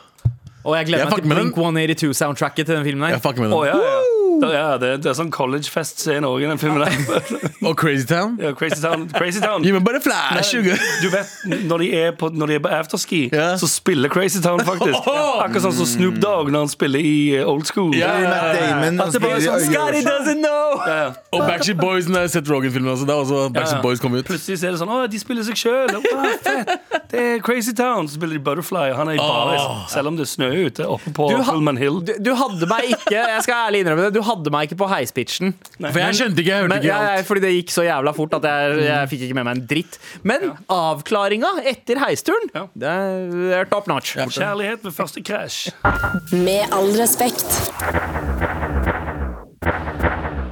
B: Og jeg
C: Jeg
B: gleder meg
C: fucker
B: til
C: med den.
B: Blink 182-soundtracket til den filmen
C: jeg
B: her.
C: fucker med
D: Å,
C: den.
D: ja, ja. Da, ja, det, det er sånn collegefest-scene òg i den filmen. der.
C: Og Crazy Town.
D: ja, Crazy Town. Crazy Town.
C: Gi meg bare flash,
D: Nei,
C: Uge.
D: Eh, Du vet, når de er på, når de er på afterski,
C: Ja.
D: så spiller Crazy Town faktisk. Akkurat sånn som Snoop Dogg når han spiller i eh, Old School.
C: Ja, ja,
E: Matt Damon og
D: At det bare er Eh, sånn,
E: Scarlett
D: Scotty doesn't know! Ja, ja.
C: Og Backstreet Boys, den der Seth Rogen-filmen. Altså. Det er også
D: Ja,
C: Backstreet
D: ja.
C: Boys kom ut.
D: Plutselig så er det sånn Å, de spiller seg sjøl! Det er Crazy Town! Så spiller de Butterfly, og han er i baris. Selv om det er snø ute oppe på
B: Du ha-
D: Pullman Hill.
B: Du, du hadde meg ikke Jeg skal ærlig innrømme det Du hadde meg ikke på heispitchen.
C: For jeg skjønte ikke, jeg hørte
B: Men,
C: ikke
B: ja, ja,
C: alt. Mm.
B: fordi det gikk så jævla fort at jeg, jeg fikk ikke med meg en dritt. Men avklaringa etter heisturen,
D: Ja.
B: det er, det er top notch.
D: Kjærlighet ved første krasj.
F: Med all respekt.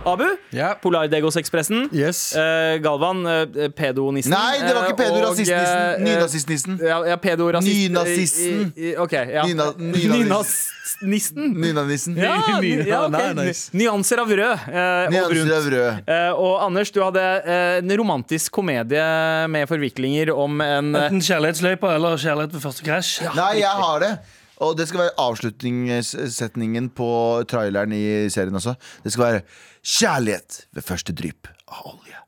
B: Abu,
C: Ja.
B: Polardegosekspressen.
C: Yes.
B: Eh, Galvan, eh, pedonissen.
E: Nei, det var
B: Eh,
E: ikke
B: og, eh,
E: pedo-rasistnissen. Nynazistnissen.
D: eh,
B: Ja, ja pedorasist.
E: Nynazisten.
B: I- i- Ok, ja.
E: Nyna- nynanis-
B: Nynazisten.
E: Nynanissen.
B: Ja, ny- ja, ok.
C: Nei, nice.
B: Nyanser av rød eh, og
E: Nyanser
B: brunt.
E: av rød.
B: Eh, og Anders, du hadde eh, en romantisk komedie med forviklinger om en eh,
D: Enten kjærlighetsløypa eller kjærlighet ved første krasj.
E: Nei, jeg har det. Og det skal være avslutningssetningen på traileren i serien også. Det skal være 'kjærlighet ved første drypp av olje'.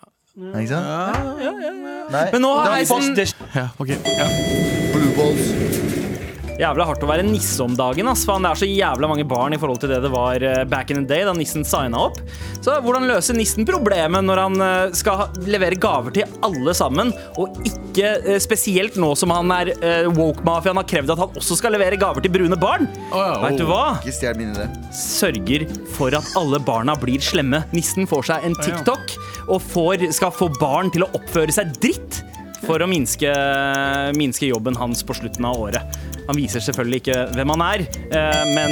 E: Ja, Ikke sant? Ja, ja, ja. Nei,
B: Men nå har sånn
E: det er
B: heisen
E: fast
C: Ja, ok.
E: blue balls.
B: Jævla hardt å være nisse om dagen. Ass. Faen, det er så jævla mange barn i forhold til det det var eh, back in the day da nissen signa opp. Så hvordan løser nissen problemet når han eh, skal ha- levere gaver til alle sammen, og ikke eh, spesielt nå som han er eh, woke-mafiaen har krevd at han også skal levere gaver til brune barn?
C: Å, ja. oh.
B: Vet du hva?
E: Ikke stjel min idé.
B: sørger for at alle barna blir slemme. Nissen får seg en TikTok og får, skal få barn til å oppføre seg dritt for å minske, minske jobben hans på slutten av året. Han viser selvfølgelig ikke hvem han er, eh, men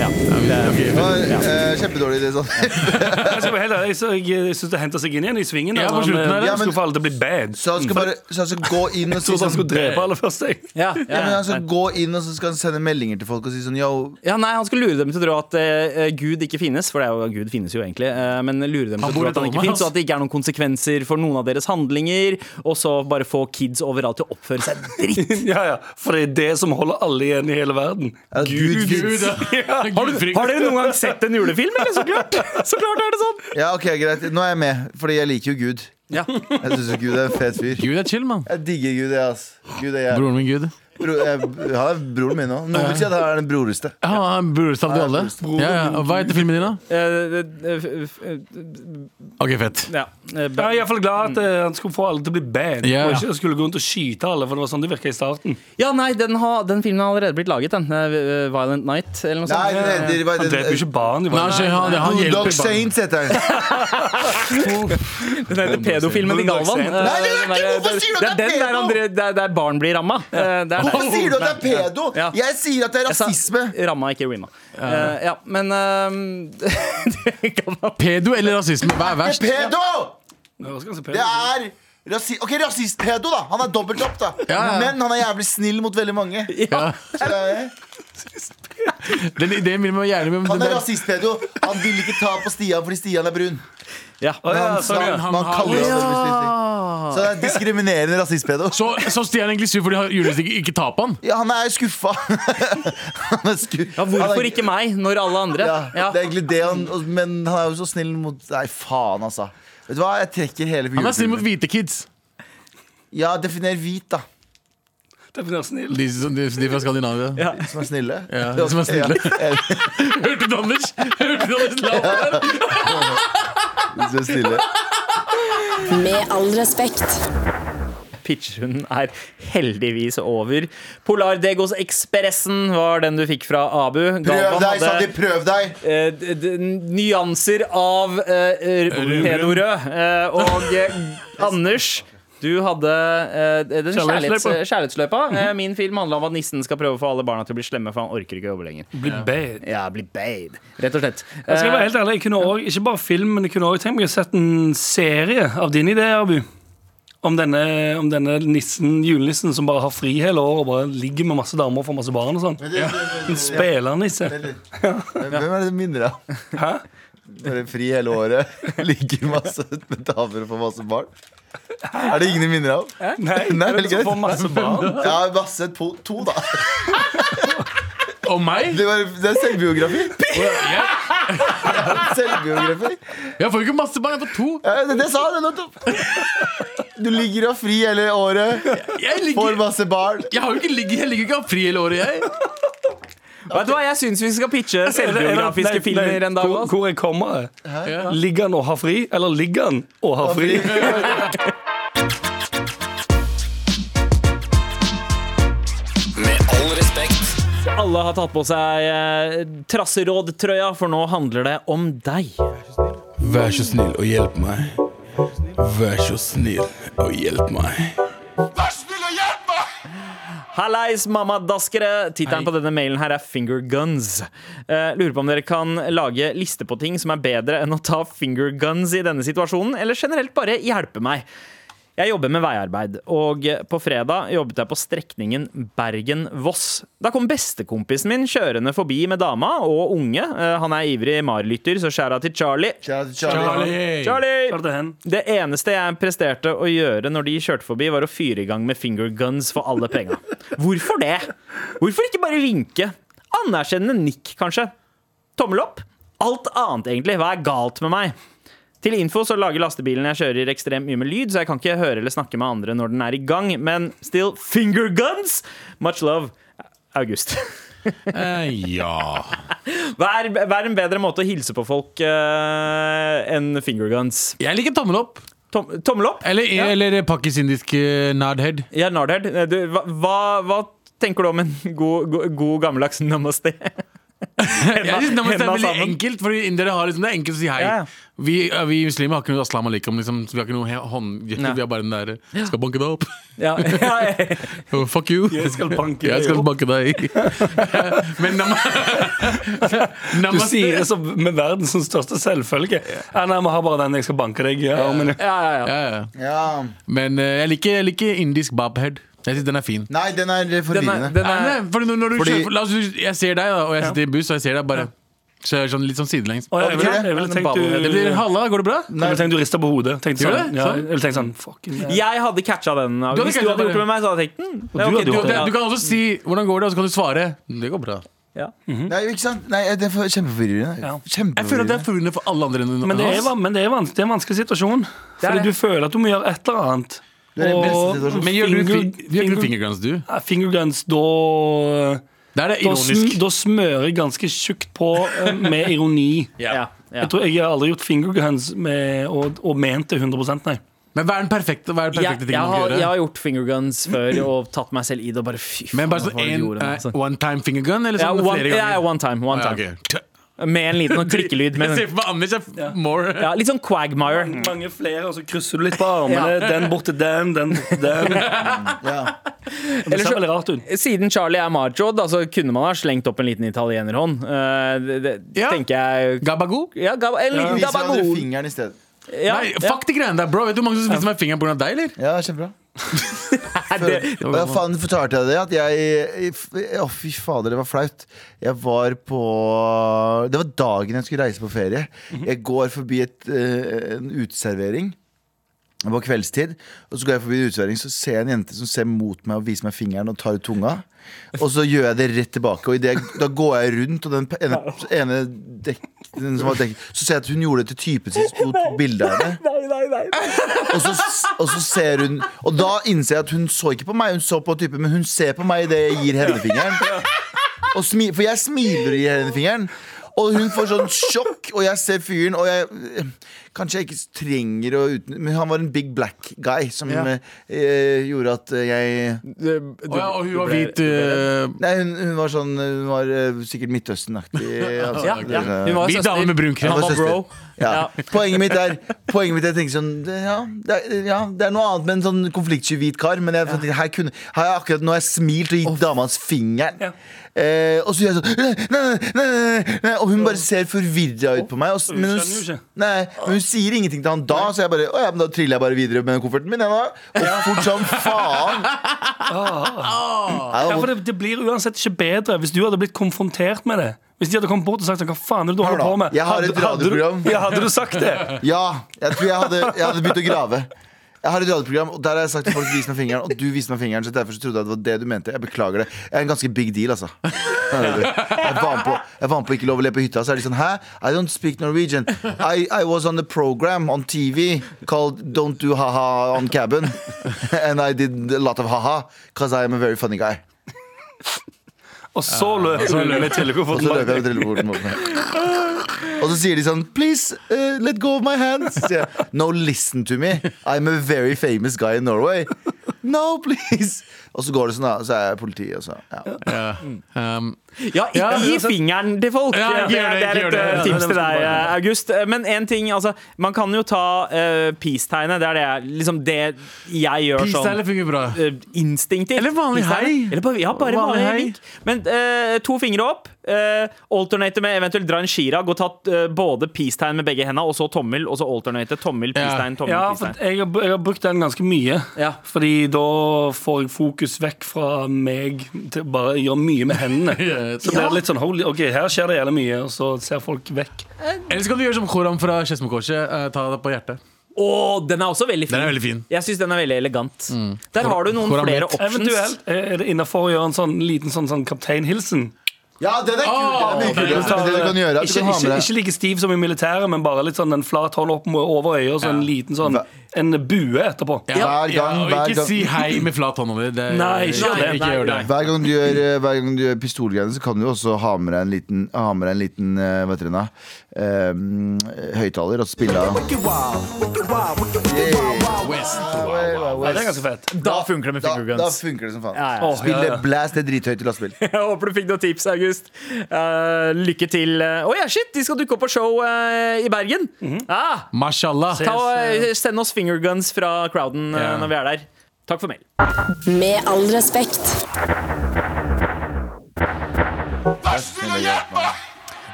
B: ja. Det,
E: Det var eh, kjempedårlig idé sånn.
D: Jeg, skal være helt ærlig, så jeg, jeg syns det henter seg inn igjen i svingen.
C: Ja,
D: Ja,
C: på
D: han
C: slutten
D: eh,
C: er
E: det.
D: skulle få alle til å bli bad.
E: Så han skal bare så han skal gå inn og si
D: Så han
E: sånn
D: skulle drepe alle først, jeg.
B: ja,
E: ja, men altså-
B: ja.
E: han skal gå inn og så skal han sende meldinger til folk og si sånn Yo,
B: ja, nei, Han skulle lure dem til å tro at eh, Gud ikke finnes, for det er jo, Gud finnes jo egentlig. eh, men lure dem til å
C: Han bor
B: tro
C: i
B: at han ikke
C: Dalmas.
B: finnes, og at det ikke er noen konsekvenser for noen av deres handlinger. Og så bare få kids overalt til å oppføre seg dritt.
D: Ja, ja, for det er det som holder alle igjen i hele verden.
E: at Gud,
C: Gud,
E: finnes.
C: ja.
D: Har du-
B: Har dere noen gang sett en julefilm, eller? Så klart, så klart er det sånn!
E: Ja, ok, greit. Nå er jeg med, fordi jeg liker jo Gud.
B: Ja.
E: Jeg syns Gud er en fet fyr.
C: Gud er chill, mann.
E: Jeg digger Gud, jeg, ass. Gud er jeg.
C: Broren min Gud.
E: Bro, jeg han er broren min òg. Noen vil si at han er den broreste.
C: Ja, han er brorsan til alle. Ja, ja. Og Hva heter filmen din,
B: Eh,
C: da? Ok, fett.
B: ja.
D: Jeg er i hvert fall glad at eh, han skulle få alle til å bli bad.
C: Ja.
D: Og ikke skulle gå rundt og skyte alle, for det var sånn det virka i starten.
B: ja, nei, den, har- den filmen har allerede blitt laget, den. Eh, Violent Night, eller noe
E: Nei,
B: sånt.
E: det, det, det,
D: Han
E: det,
D: dreper jo ikke barn. de
C: Nei,
D: var-
C: han, han, han
E: Good
C: hjelper
E: Dog
C: barn.
E: Saints heter han.
B: Den heter Pedofilmen i Galvan.
D: Nei, det
E: er ikke-
B: Eh, den der-
E: hvorfor sier du
B: det
E: at
B: er
E: det er
B: den der,
E: pedo?
B: André, der, der barn blir ramma. Eh, det er der.
E: Hvorfor sier du at det er pedo?
B: Ja.
E: Jeg sier at det er
B: Jeg sa
E: rasisme.
B: Ramma, ikke rima. Eh, ja, men ehm, eh, Galvan.
C: Pedo eller rasisme? Hva er verst?
E: Pedo!
D: Nei, hva skal han si,
E: Det
D: pedo?
E: er rasi Ok, rasist-pedo, da. Han er dobbelt opp, da.
C: Ja, ja.
E: Men han er jævlig snill mot veldig mange. Så det er-
C: Den ideen vil man gjerne med.
E: Han
C: den
E: er
C: der-
E: rasist-pedo. Han vil ikke ta på Stian fordi Stian er brun.
B: Ja.
D: Å, ja,
E: Han,
D: sånn, ja.
E: han, han kaller
C: Ja.
E: ham det. Så Så det er diskriminerende rasistpedo.
C: Så, så Stian er egentlig sur fordi han- Julius ikke, ikke tar på han.
E: Ja, han er skuffa. han er sku...
B: Ja,
E: han
B: hvorfor
E: er...
B: ikke meg, når alle andre?
E: Ja,
B: Ja.
E: Det er egentlig det han Men han er jo så snill mot Nei, faen, altså. Vet du hva, jeg trekker hele
C: Han er snill mot
E: julefilmen.
C: hvite kids.
E: Ja, definer hvit, da.
D: Definer snill.
C: De, som- de, de fra Skandinavia.
B: Ja.
E: Som er snille.
C: Ja, de som er snille. Hørte du Anders? Hørte du Anders lapp der?
E: Ja, som er snille.
F: Med all respekt.
B: Pitchhunden er heldigvis over. Polardegos-ekspressen var den du fikk fra Abu.
E: Prøv
B: Galvan
E: deg,
B: hadde
E: Sandi, prøv deg!
B: eh, d- d- nyanser av eh, r- pedorød. Eh, og eh, Anders du hadde eh, den kjærlighets,
D: Kjærlighetsløypa.
B: kjærlighetsløypa. Eh, min film handla om at nissen skal prøve å få alle barna til å bli slemme, for han orker ikke å jobbe lenger.
D: Bli bad.
B: Ja, bli bade, rett og slett.
D: Jeg skal være
B: Eh,
D: helt ærlig, jeg kunne også, ikke bare film, men jeg kunne også tenkt meg å sette en serie av dine ideer, Abu. Om denne, om denne nissen, julenissen som bare har fri hele året og bare ligger med masse damer og får masse barn og sånn. En spillernisse.
E: Hvem er det du minner deg om?
D: Hæ?
E: Bare fri hele året, ligger masse med damer og får masse barn. Er det ingen du minner deg om? Nei,
D: Nei, hvem som
E: veldig
D: får masse barn.
E: Ja, masse to, to da.
C: Og meg?
E: Det, var, det er selvbiografi. Selvbiografi.
C: Jeg får jo ikke masse barn, jeg får to.
E: Ja, det, det sa du nettopp. Du ligger og har fri hele året,
C: Jeg,
E: får
C: ligger,
E: masse barn.
C: jeg, har jo ikke, ligg- jeg ligger jo ikke av fri hele året, jeg.
B: Vet du hva, jeg syns vi skal pitche
D: Nei, nei,
B: selvbiografiske filmer en dag.
D: hvor,
B: altså.
D: hvor jeg kommer Ligger han og har fri, eller ligger han og har fri?
G: Med all respekt.
B: Alle har tatt på seg eh, trasserådtrøya, for nå handler det om deg.
H: Vær så snill og hjelp meg. Vær så snill og hjelp meg.
B: Hallais, mammadaskere! Tittelen på denne mailen her er Finger Guns. Eh, lurer på om dere kan lage liste på ting som er bedre enn å ta finger guns i denne situasjonen, eller generelt bare hjelpe meg. Jeg jobber med veiarbeid, og på fredag jobbet jeg på strekningen Bergen-Voss. Da kom bestekompisen min kjørende forbi med dama og unge. Eh, han er ivrig marlytter, så skjæra til Charlie.
E: Kjære til Charlie.
B: Charlie!
D: Hva er det hen?
B: Det eneste jeg presterte å gjøre når de kjørte forbi, var å fyre i gang med finger guns for alle penga. Hvorfor det? Hvorfor ikke bare vinke? Anerkjennende nikk, kanskje. Tommel opp? Alt annet, egentlig. Hva er galt med meg? Til info så lager lastebilen jeg kjører ekstremt mye med lyd, så jeg kan ikke høre eller snakke med andre når den er i gang, men still finger guns! Much love, August.
C: Eh, ja.
B: Hva er, hva er en bedre måte å hilse på folk eh, enn finger guns?
C: Jeg liker tommel opp.
B: Tom, tommel opp?
C: Eller, eller pakistansk eh, nardhead.
B: Ja, Nardhead, du, hva, hva, hva tenker du om en god, god, god gammeldags namaste?
C: Jeg synes namaste er
B: hendene
C: veldig
B: sammen.
C: enkelt, fordi indere har liksom, det er enkelt å si hei.
B: Ja, ja.
C: Vi, eh, vi muslimer har ikke noe aslam alaikum, liksom, så vi har ikke noe he- håndgetter.
B: Nei.
C: Vi har bare den der eh, 'skal banke deg opp'.
B: Ja, ja,
C: Oh, fuck you.
D: Jeg skal banke
C: Jeg skal
D: deg opp.
C: banke deg. Men nam
D: Du
C: namaste
D: sier det som med verdens største selvfølge. Ja, nei, vi har bare den jeg skal banke deg i armen.
B: ja, ja, ja.
C: ja, ja.
E: Ja.
C: Men eh, jeg, liker, jeg liker indisk bobhead. Jeg syns den er fin.
E: Nei, den er
B: Den er,
E: forvirrende.
B: den er,
C: Nei, fordi når, når du
E: Fordi-
C: kjører, la oss, si jeg ser deg, da, og jeg sitter i buss, og jeg ser deg bare så jeg er sånn, litt sånn sidelengs.
D: Og jeg,
E: betyr
D: ville-
E: det?
D: jeg ville tenkt du
C: Det blir Halla, går det bra?
D: Jeg ville tenkt du rister på hodet. Tenkte
C: Gjør
D: sånn,
C: det?
D: ja,
C: Sånn?
D: jeg ville tenkt sånn fucking hell.
B: jeg hadde catcha den.
C: Du hadde
B: Hvis du
C: catcha
B: hadde
C: den,
B: gjort det med meg, så hadde jeg tenkt "Hmm, den.
D: du hadde
C: Du,
D: gjort
C: det, du kan også si 'hvordan går det', og så kan du svare. Det går bra.
B: Ja.
E: Nei, ikke sant? Nei, det er for- kjempeforvirrende.
D: Ja.
C: Jeg føler at det
E: Kjempeforvirrende.
C: er forvirrende for alle andre enn
D: Men det er,
C: oss.
D: van- men det er, vans- det er en vanskelig situasjon.
B: er
D: Fordi
B: det.
D: du føler at du må gjøre et eller annet.
E: Det er den beste
D: Og
E: situasjonen.
C: Men gjør du,
D: finger-
C: fi- gjør du
D: finger-
C: fingerguns, du?
D: Ja, Fingerguns, da
C: Da er det
D: da, sm,
C: ironisk.
D: da smører jeg ganske tjukt på eh, med ironi.
B: Ja. Ja.
D: Jeg tror jeg har aldri gjort fingerguns med, og, og ment det 100 nei.
C: Men hva er den perfekte, hva er den
B: Jeg, jeg,
C: perfekte tingen man
B: har,
C: kan
B: jeg
C: gjøre?
B: har gjort finger guns før og tatt meg selv i det. Og bare fy faen,
C: Men bare sånn
B: hva var det
C: en,
B: du gjorde nå, altså?
C: eh, one time finger gun, eller
B: ja,
C: sånn
B: one,
C: flere
B: ja,
C: ganger?
B: one time. One
C: Ja,
B: time.
C: ok. Tja.
B: Med en liten klikkelyd.
C: Jeg
B: Med,
C: ser for meg Anders er more
B: ja, litt sånn Quagmire.
D: Mange flere, og så krysser du litt på armene. Den bort til den, den bort til den. Det ser
B: så-
D: veldig rart ut.
B: Siden Charlie er macho, da, så kunne man ha slengt opp en liten italienerhånd. Eh, det, det
C: Ja.
B: tenker jeg
C: Gabago?
B: Ja, ga, en liten
E: Vis hverandre
B: gabagool.
E: fingeren i stedet.
B: Ja,
C: Nei,
B: ja.
C: fuck de greiene der, bro. Vet du hvor mange som spiser meg fingeren pga. deg, eller?
E: Ja, kjempebra.
B: Er det,
E: Og jeg faen fortalte jeg det at jeg Å, fy fader, det var flaut. Jeg var på Det var dagen jeg skulle reise på ferie. Jeg går forbi et, eh, en uteservering. på kveldstid, og så går jeg forbi en uteservering, så ser jeg en jente som ser mot meg og viser meg fingeren og tar ut tunga. Og så gjør jeg det rett tilbake. Og i det, da går jeg rundt, og den ene, ene dekk, den som var dekk, så ser jeg at hun gjorde det til typen sin, sto på bildet av henne. Og så, og så ser hun Og da innser jeg at hun så ikke på meg, hun så på typen, men hun ser på meg idet jeg gir henne fingeren. Og smi, for jeg smiler og gir henne fingeren. Og hun får sånn sjokk, og jeg ser fyren, og jeg Kanskje jeg ikke trenger å uten... Men han var en big black guy som
B: Ja.
E: eh, gjorde at jeg
B: Du-
I: Å ja, og hun var hvit eh,
E: Nei, hun, hun var sånn Hun var eh, sikkert Midtøsten-aktig. Altså,
B: Ja, ja. Hun
C: eh,
B: var
I: Hvit dame
B: søster.
I: med brun krem.
E: Hun
B: Han
E: var
B: var bro.
E: søster. Ja. Poenget mitt er Poenget mitt er, jeg tenker sånn det- ja det, er, ja, det er noe annet med en sånn konfliktsky hvit kar, men jeg, tenkte, her, kunne, her har jeg akkurat nå har jeg smilt og gitt dama hans fingeren. Eh, og så gjør jeg sånn nei, nei, nei, nei, nei, nei, Og hun bare ser forvirra ut på meg. Og, s- men, hun,
D: skjønner jo
E: s-
D: ikke.
E: nei, men hun sier ingenting til han da, så jeg bare, å, ja, men da triller jeg bare videre med kofferten min. Jeg, da. Og fort som faen.
D: Ja, for det, det blir uansett ikke bedre hvis du hadde blitt konfrontert med det. Hvis de hadde kommet bort og sagt sånn, hva faen er det du holder
E: da.
D: på med?
E: Jeg har
D: Hadde-
E: et
D: hadde du-
E: radioprogram.
D: Ja, hadde du sagt det?
E: Ja, jeg tror jeg hadde, jeg hadde begynt å grave. Jeg har et radioprogram, og der har jeg sagt til folk vis meg fingeren. Og du viste meg fingeren, så derfor så trodde jeg det var det du mente. Jeg beklager det. Jeg er en ganske big deal, altså. Jeg var med på, jeg var med på Ikke lov å le på hytta, så er de sånn Hæ? I don't speak Norwegian. I, I was on the program on TV called Don't do ha-ha on cabin. And I did a lot of ha-ha, because I am a very funny guy.
D: Og så løp hun med
E: Og så løper
D: trillekofferten.
E: jeg med trilleporten mot meg. Og så sier de sånn Please, eh, let go of my hands. Så sier jeg, no, listen to me. I'm a very famous guy in Norway. No, please. Og så går det sånn, da. Så er jeg politi, og så ja.
I: Ja.
B: Mm.
I: Um,
B: Ja, ikke
I: Ja,
B: gi
I: altså-
B: fingeren til folk!
I: Ja, ikke
B: det,
I: gjør det,
B: det er
I: ikke
B: et
I: gjør det.
B: eh, tips
I: Ja, det må
B: til deg,
I: bare-
B: eh, August. Eh, Men én ting, altså. Man kan jo ta eh, peace-tegnet. Det er det, jeg- liksom det jeg gjør
I: Peace
B: sånn.
I: eller fungerer bra.
B: eh, Instinktivt.
I: Eller vanlig
B: Peace-tegnet.
I: hei.
B: Eller bare, ja, bare
I: Vanlig
B: vanlig,
I: hei.
B: vink. Men eh, to fingre opp. Uh, alternate med eventuelt dra en chirag og ta eh, både peace-tegn med begge hendene og så tommel, og så alternate tommel, peace-tegn, tommel,
D: Ja, for
B: peace-tegn.
D: jeg har, jeg har brukt den ganske mye.
B: Ja.
D: Fordi da får jeg fokus vekk fra meg til bare å gjøre mye med hendene. Så blir det litt sånn holy, ok, her skjer det jævlig mye, og så ser folk vekk.
I: Eller så kan du gjøre som Koram fra Skedsmokorset. eh, ta det på hjertet.
B: Å, den er også veldig fin.
I: Den er veldig fin. Mm.
B: Jeg syns den er veldig elegant. Der har du noen
I: Hvordan
B: flere
I: mitt?
B: options.
D: Eventuelt er det innafor å gjøre en sånn liten sånn, sånn kapteinhilsen.
E: ja, den er kul. Den er mye kulere. Men det du kan gjøre, er at du
D: Ikke,
E: kan ha
D: ikke,
E: med deg
D: ikke like stiv som i militæret, men bare litt sånn en flat hånd opp mot over øyet og så en liten sånn En bue etterpå.
E: Hver gang,
I: og
E: hver
I: ikke
E: gang.
I: si hei med flat hånd over. Det,
D: Nei, ikke gjør det.
I: ikke gjør det.
E: hver gang du gjør, eh, hver gang du gjør pistolgreiene, så kan du også ha med deg en liten, ha med deg en liten eh, hva heter den da, eh, høyttaler og spille av. Yeah.
D: Ja, det er ganske fett.
B: Da funker det med finger
E: Da, da
B: guns.
E: funker det som faen.
B: ja, ja.
E: Spille
D: Åh, ja, ja.
E: blast det er drithøyt i lastebil.
B: Jeg håper du fikk noen tips, August. Eh, lykke til. eh, Å ja, shit! De skal dukke opp på show eh, i Bergen. ah,
I: Mashallah.
B: ta, og, eh, send oss finger guns fra crowden eh,
I: Ja.
B: når vi er der. Takk for mail.
F: Med all respekt.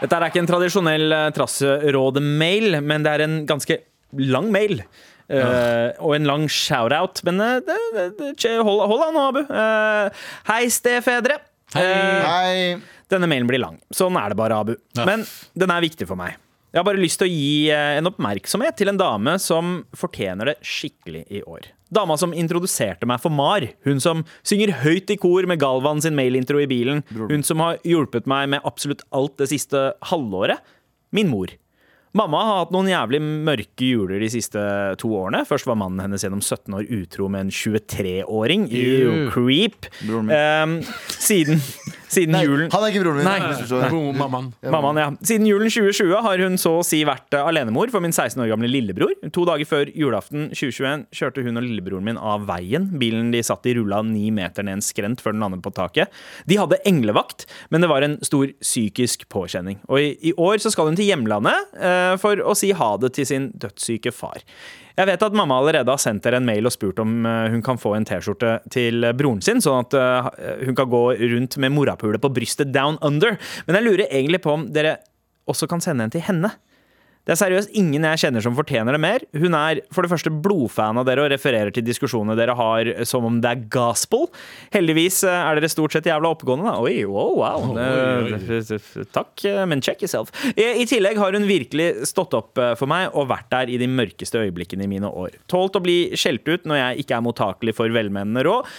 B: Dette er ikke en tradisjonell eh, Trasserådet-mail, men det er en ganske lang mail. Eh, og en lang shout-out. Men eh, det, det, det, tje, hold, hold an, Abu. Eh, hei, stefedre. Eh,
E: Hei.
B: denne mailen blir lang. Sånn er det bare, Abu. Men den er viktig for meg. Jeg har bare lyst til å gi eh, en oppmerksomhet til en dame som fortjener det skikkelig i år. Dama som introduserte meg for Mar. Hun som synger høyt i kor med Galvan sin mailintro i bilen. Hun som har hjulpet meg med absolutt alt det siste halvåret. Min mor. Mamma har hatt noen jævlig mørke juler de siste to årene. Først var mannen hennes gjennom 17 år utro med en 23-åring. Ew, creep. Um, siden, siden julen
E: Han er ikke broren min.
B: Nei.
E: Misforstå.
I: Boom, mammaen.
B: Mammaen, ja. Siden julen 2020 har hun så å si vært eh, alenemor for min 16 år gamle lillebror. To dager før julaften 2021 kjørte hun og lillebroren min av veien. Bilen de satt i rulla ni meter ned en skrent før den landet på taket. De hadde englevakt, men det var en stor psykisk påkjenning. Og i, i år så skal hun til hjemlandet eh, for å si ha det til sin dødssyke far. Jeg vet at mamma allerede har sendt dere en mail og spurt om eh, hun kan få en T-skjorte til eh, broren sin, sånn at eh, hun kan gå rundt med morapulet på brystet down under. Men jeg lurer egentlig på om dere også kan sende en til henne. Det er seriøst ingen jeg kjenner som fortjener det mer. Hun er for det første blodfan av dere og refererer til diskusjonene dere har som om det er gospel. Heldigvis eh, er dere stort sett jævla oppegående, da. Oi, wow, wow. Eh, Takk, eh, men check yourself. I i tillegg har hun virkelig stått opp eh, for meg og vært der i de mørkeste øyeblikkene i mine år. Tålt å bli skjelt ut når jeg ikke er mottakelig for velmenende råd.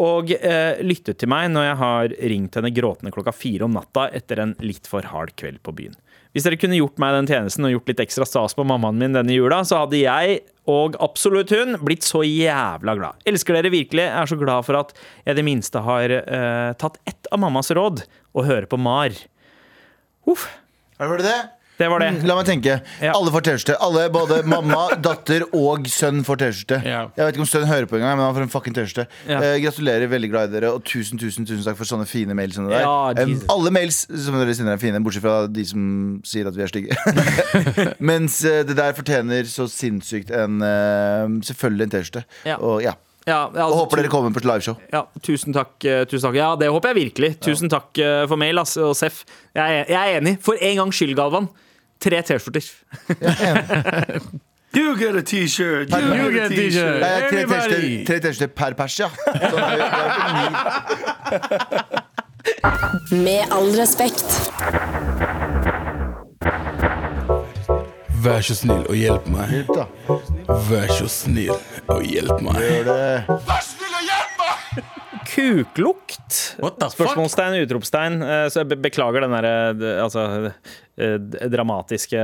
B: Og eh, lyttet til meg når jeg har ringt henne gråtende klokka fire om natta etter en litt for hard kveld på byen. Hvis dere kunne gjort meg den tjenesten og gjort litt ekstra stas på mammaen min denne jula, så hadde jeg og absolutt hun blitt så jævla glad. Elsker dere virkelig. Jeg er så glad for at jeg i det minste har eh, tatt ett av mammas råd og hører på Mar. Uff,
E: Har du hørt det?
B: det var det.
E: Mm, La meg tenke.
B: Ja.
E: Alle får T-skjorte. Alle, Både mamma, datter og sønn får T-skjorte.
C: Ja.
E: Jeg vet ikke om sønn hører på engang, men han får en fucking T-skjorte.
B: Ja.
E: Eh, gratulerer, veldig glad i dere, og tusen tusen, tusen takk for sånne fine mails. Som det der.
B: Ja,
E: Eh,
B: Jesus.
E: alle mails som dere sender, er fine, bortsett fra de som sier at vi er stygge. Mens eh, det der fortjener så sinnssykt en eh, Selvfølgelig en T-skjorte.
B: Ja.
E: Og ja.
B: Ja,
E: Og
B: altså,
E: håper dere kommer på et liveshow.
B: Ja, tusen takk, eh, tusen takk. Ja, det håper jeg virkelig. Tusen takk eh, for mail, ass, og Seff. Jeg, er- jeg er enig. For en gangs skyld, Galvan. Tre T-skjorter.
I: You get a t-shirt.
E: You
I: You get a t-shirt.
E: Nei, Tre
I: Everybody.
E: T-skjorter- tre T-skjorter per pers, ja. Så det er jo- det er jo ikke ni
F: Med all respekt.
C: Vær så snill og hjelp meg.
E: da.
C: Vær så snill og hjelp meg.
B: Kuklukt?
C: What the fuck?
B: Spørsmålstegn, utropstegn. Eh, Så jeg be- beklager den der, eh, d- altså, eh, d- dramatiske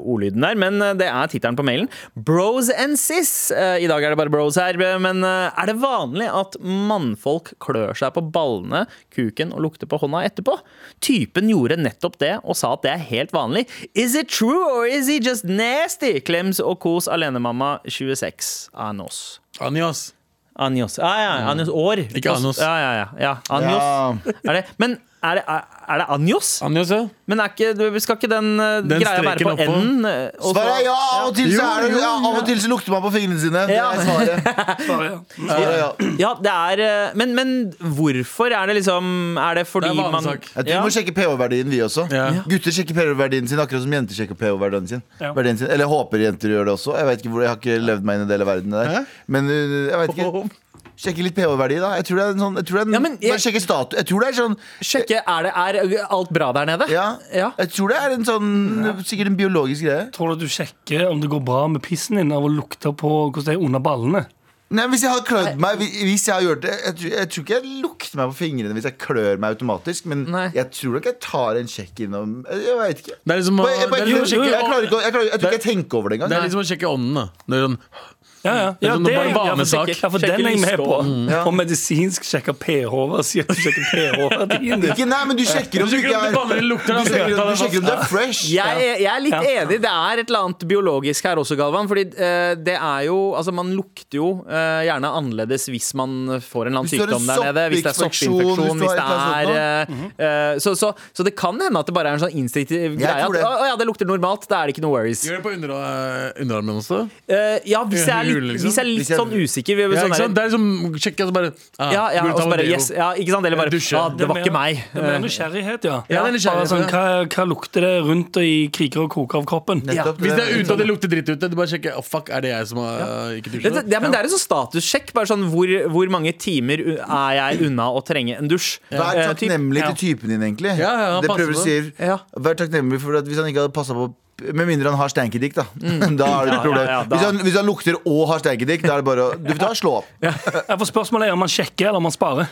B: ordlyden der, men eh, det er tittelen på mailen. Bros and sis. Eh, I dag er det bare bros her, eh, men eh, er det vanlig at mannfolk klør seg på ballene, kuken og lukter på hånda etterpå? Typen gjorde nettopp det og sa at det er helt vanlig. Is it true or is he just nasty? Klems og kos alenemamma 26 Anos.
C: Anjas.
B: Anjos. Ja, ja, ja. Anjos år.
C: Ikke Anos.
B: Ja, ja, ja. ja. Anjos. Er det, men er det, er, er det Anjos?
C: Anjas, ja.
B: Men er ikke, du- skal ikke den, eh,
C: Den
B: greia være på
C: streken oppå.
B: N-en? eh, og så-
E: Svaret er ja! Av og til så, er det,
C: Jo, jo,
E: ja, av og til så lukter man på fingrene sine. Det
B: Ja.
E: er svaret. Svaret er ja.
B: Ja, det er eh, men, men hvorfor er det liksom Er det fordi
C: Det er
B: man
C: vanesak.
E: Jeg tror
B: Ja.
E: Vi må sjekke pH-verdien, vi også.
C: Ja.
E: Gutter sjekker pH-verdien sin akkurat som jenter sjekker pH-verdien sin.
D: Ja.
E: Verdien sin. Eller jeg håper jenter gjør det også. Jeg vet ikke hvor, jeg har ikke levd meg inn i en del av verden der. Men uh, jeg vet ikke Sjekke litt pH-verdi, da. Jeg tror det er en sånn Jeg tror det er en,
B: Ja, men jeg-
E: bare sjekke statu Jeg tror det er sånn
B: Sjekke, er, det, er alt bra der nede?
E: ja,
B: Ja.
E: Jeg tror det er en sånn Sikkert en biologisk greie.
D: Tror du at du sjekker om det går bra med pissen din av å lukte på hvordan det er under ballene?
E: Nei, men Hvis jeg har klødd meg Hvis jeg har gjort det Jeg, tror- jeg tror ikke jeg lukter meg på fingrene hvis jeg klør meg automatisk, men
B: Nei.
E: jeg tror nok jeg tar en sjekk innom Jeg veit ikke.
C: Det er liksom å-
E: Bare- jeg,
C: det
E: bare,
C: er liksom å
E: jeg,
C: sjekke-
E: klarer ikke å- jeg, klarer, jeg tror ikke jeg tenker over det engang.
C: det er liksom å sjekke ånden, da. Det er sånn
D: Ja, ja.
C: Det er sånn, det er bare
D: ja, for
C: vanesak.
D: sikkert. Ja, for den
B: Sjekke
D: er jeg med på.
B: lysstrålen.
E: Ja.
D: På medisinsk sjekke pH-verdien. Sier at du sjekker pH-verdien.
E: Ikke, nei, men du sjekker om du ikke er
C: Du banner i lukten, da.
E: Du sjekker, om- du sjekker om du er fresh.
B: Jeg, jeg er litt
D: Ja.
B: enig. Det er et eller annet biologisk her også, Galvan. Fordi eh, det er jo Altså, man lukter jo eh, gjerne annerledes hvis man får en eller annen
E: Hvis du har en
B: sykdom der nede. Hvis det er
E: soppinfeksjon,
B: soppinfeksjon,
E: hvis
B: hvis
E: du
B: det er
E: har et eller
B: eh, eh, så, så, så det kan hende at det bare er en sånn instinktiv greie. At,
E: tror det.
B: å, å ja, det lukter normalt. Da er det ikke noe worries.
C: Gjør det på under, eh, underarmen også.
B: Eh, ja, hvis jeg er
C: Hulen,
B: litt,
C: liksom.
B: hvis jeg er litt
E: Hvis jeg-
B: sånn usikker.
C: Ja,
B: sånn
C: ikke
B: der-
C: sant? Det er liksom sjekke og så bare ah,
B: ja, ja,
C: burde
B: og
C: ta
B: så
C: med
B: bare
C: deo.
B: yes, ja, ikke sant? Eller bare
C: Dusje.
B: ah, Det var
D: mer-
B: ikke meg.
D: Det er mer nysgjerrighet, ja.
C: Ja, det er nysgjerrighet,
D: Bare sånn,
C: ja.
D: hva, hva lukter det rundt og i kriker og kroker av kroppen?
E: Nettopp,
C: Hvis det er ute og det lukter dritt ute, du bare sjekker oh, Fuck, er det jeg som har eh, ikke
B: Det,
C: dusjet?
B: det, ja, men det er en sånn statussjekk. Bare sånn, hvor, hvor mange timer u- er jeg unna å trenge en dusj?
E: Vær
B: Eh, typ.
E: takknemlig til typen din, egentlig.
C: Ja, ja, han
E: det
C: passer
E: prøver du
C: på
E: sier.
B: Ja.
E: Vær takknemlig for at hvis han ikke hadde passa på med mindre han har steinkedikt, da.
C: Mm.
E: Da er det et
B: Ja, ja,
E: problem.
B: ja, da-
E: hvis, han, hvis han lukter og har steinkedikt, da er det bare å Du får ta og slå opp.
D: Ja, for spørsmålet er om man sjekker eller om man sparer.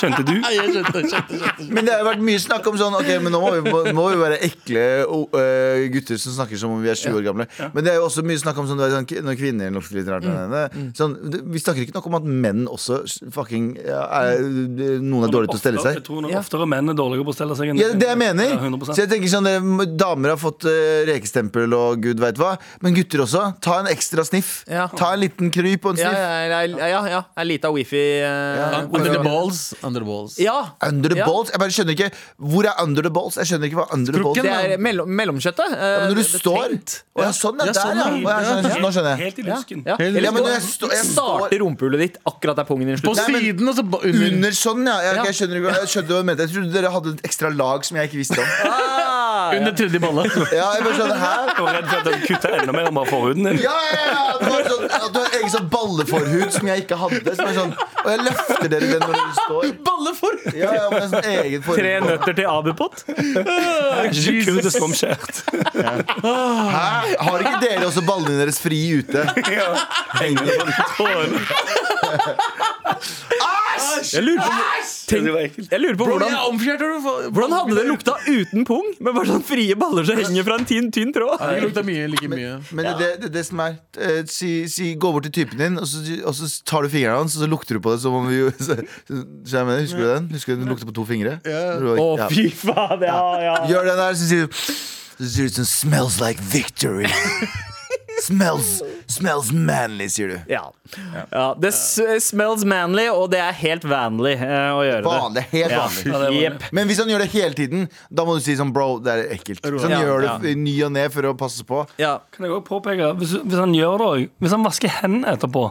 D: Skjønte du?
C: Nei, jeg skjønte, skjønte, skjønte.
E: Men det har jo vært mye snakk om sånn Ok, men nå må vi, nå må vi være ekle o- øh, gutter som snakker som om vi er 20 år gamle. Men det er jo også mye snakk om sånn, du vet, sånn når kvinner lukter litt rart.
B: Mm.
E: eller- Sånn, det- vi snakker ikke nok om at menn også fucking ja, er, Noen er dårlige til å stelle
D: Oftere-
E: seg.
D: Jeg tror nok oftere menn er dårligere på å stelle seg enn
E: Ja, det er det jeg mener.
D: Ja, 100%.
E: så jeg tenker sånn, eh, Damer har fått eh, rekestempel og gud veit hva. Men gutter også. Ta en ekstra sniff.
B: Ja.
E: Ta en liten kryp og en
B: Ja,
E: sniff.
B: ja, ja, ja, ja. En lita wifi eh,
C: Under the balls. Under the balls.
B: Ja.
E: Under the
B: Ja.
E: balls? Jeg bare skjønner ikke Hvor er under the balls? Jeg skjønner ikke hva under the balls
B: Det
E: er.
B: er mellom, mellomkjøttet. eh,
E: sånn, Ja, men når du
B: det er
E: står
B: tenkt.
E: Å ja, sånn er
C: Ja,
E: det
C: sånn,
E: der, ja.
C: ja.
E: Å, jeg skjønner, nå skjønner jeg.
D: Helt i lusken.
B: Ja. Eller
E: Ja, men når jeg
B: stå-
E: står- jeg står-
B: starter rumpehullet ditt akkurat der pungen din
C: På
B: slutter. Nei, men-
C: siden, og så ba- under.
E: Under sånn, ja. Jeg,
B: Ja.
E: jeg skjønner ikke hva- jeg skjønte hva du mente. Jeg trodde dere hadde et ekstra lag som jeg ikke visste om.
B: Ah,
C: Under tredje bolle.
E: Ja, jeg bare skjønner, hæ?
D: Jeg var redd for at den kutta enda mer om forhuden din.
E: Ja, ja, ja! At du har sånn, at du har egen sånn balleforhud som jeg ikke hadde. Som er sånn, og jeg løfter dere den når dere står.
B: Balleform!
E: Ja, ja, men en sånn egen
B: Tre
E: forhud.
B: nøtter til Abipot?
D: Kule som skjært.
E: Hæ? Har ikke dere også ballene deres fri ute?
B: Jeg lurer på, tenk, jeg lurer på hvordan, hvordan hadde det lukta uten pung, med bare sånn frie baller som henger fra en tynn, tynn tråd?
C: Det lukta mye, like mye.
E: Men det, det, det, det som er eh, si, si, Gå bort til typen din, og så, og så tar du fingeren hans, og så lukter du på det som om vi gjorde- så, så, så jeg mener, Husker du den? Husker du den lukter på to fingre? Når du var-
B: Å,
E: ja.
B: fy faen, ja, ja.
E: Gjør den der, så sier du Så sier du sånn Smells like victory. smells, smells manly, sier du.
B: Ja. ja. Det s eh, smells manly, og det er helt vanlig eh, å gjøre det.
E: Vanlig, helt vanlig.
B: Ja,
D: vanlig.
B: jep.
E: Men hvis han gjør det hele tiden, da må du si sånn bro, det er ekkelt. Så han
B: Ja,
E: gjør
B: ja.
E: det i ny og ne for å passe på.
B: ja.
D: Kan jeg også påpeke, hvis, hvis han gjør det også, Hvis han vasker hendene etterpå,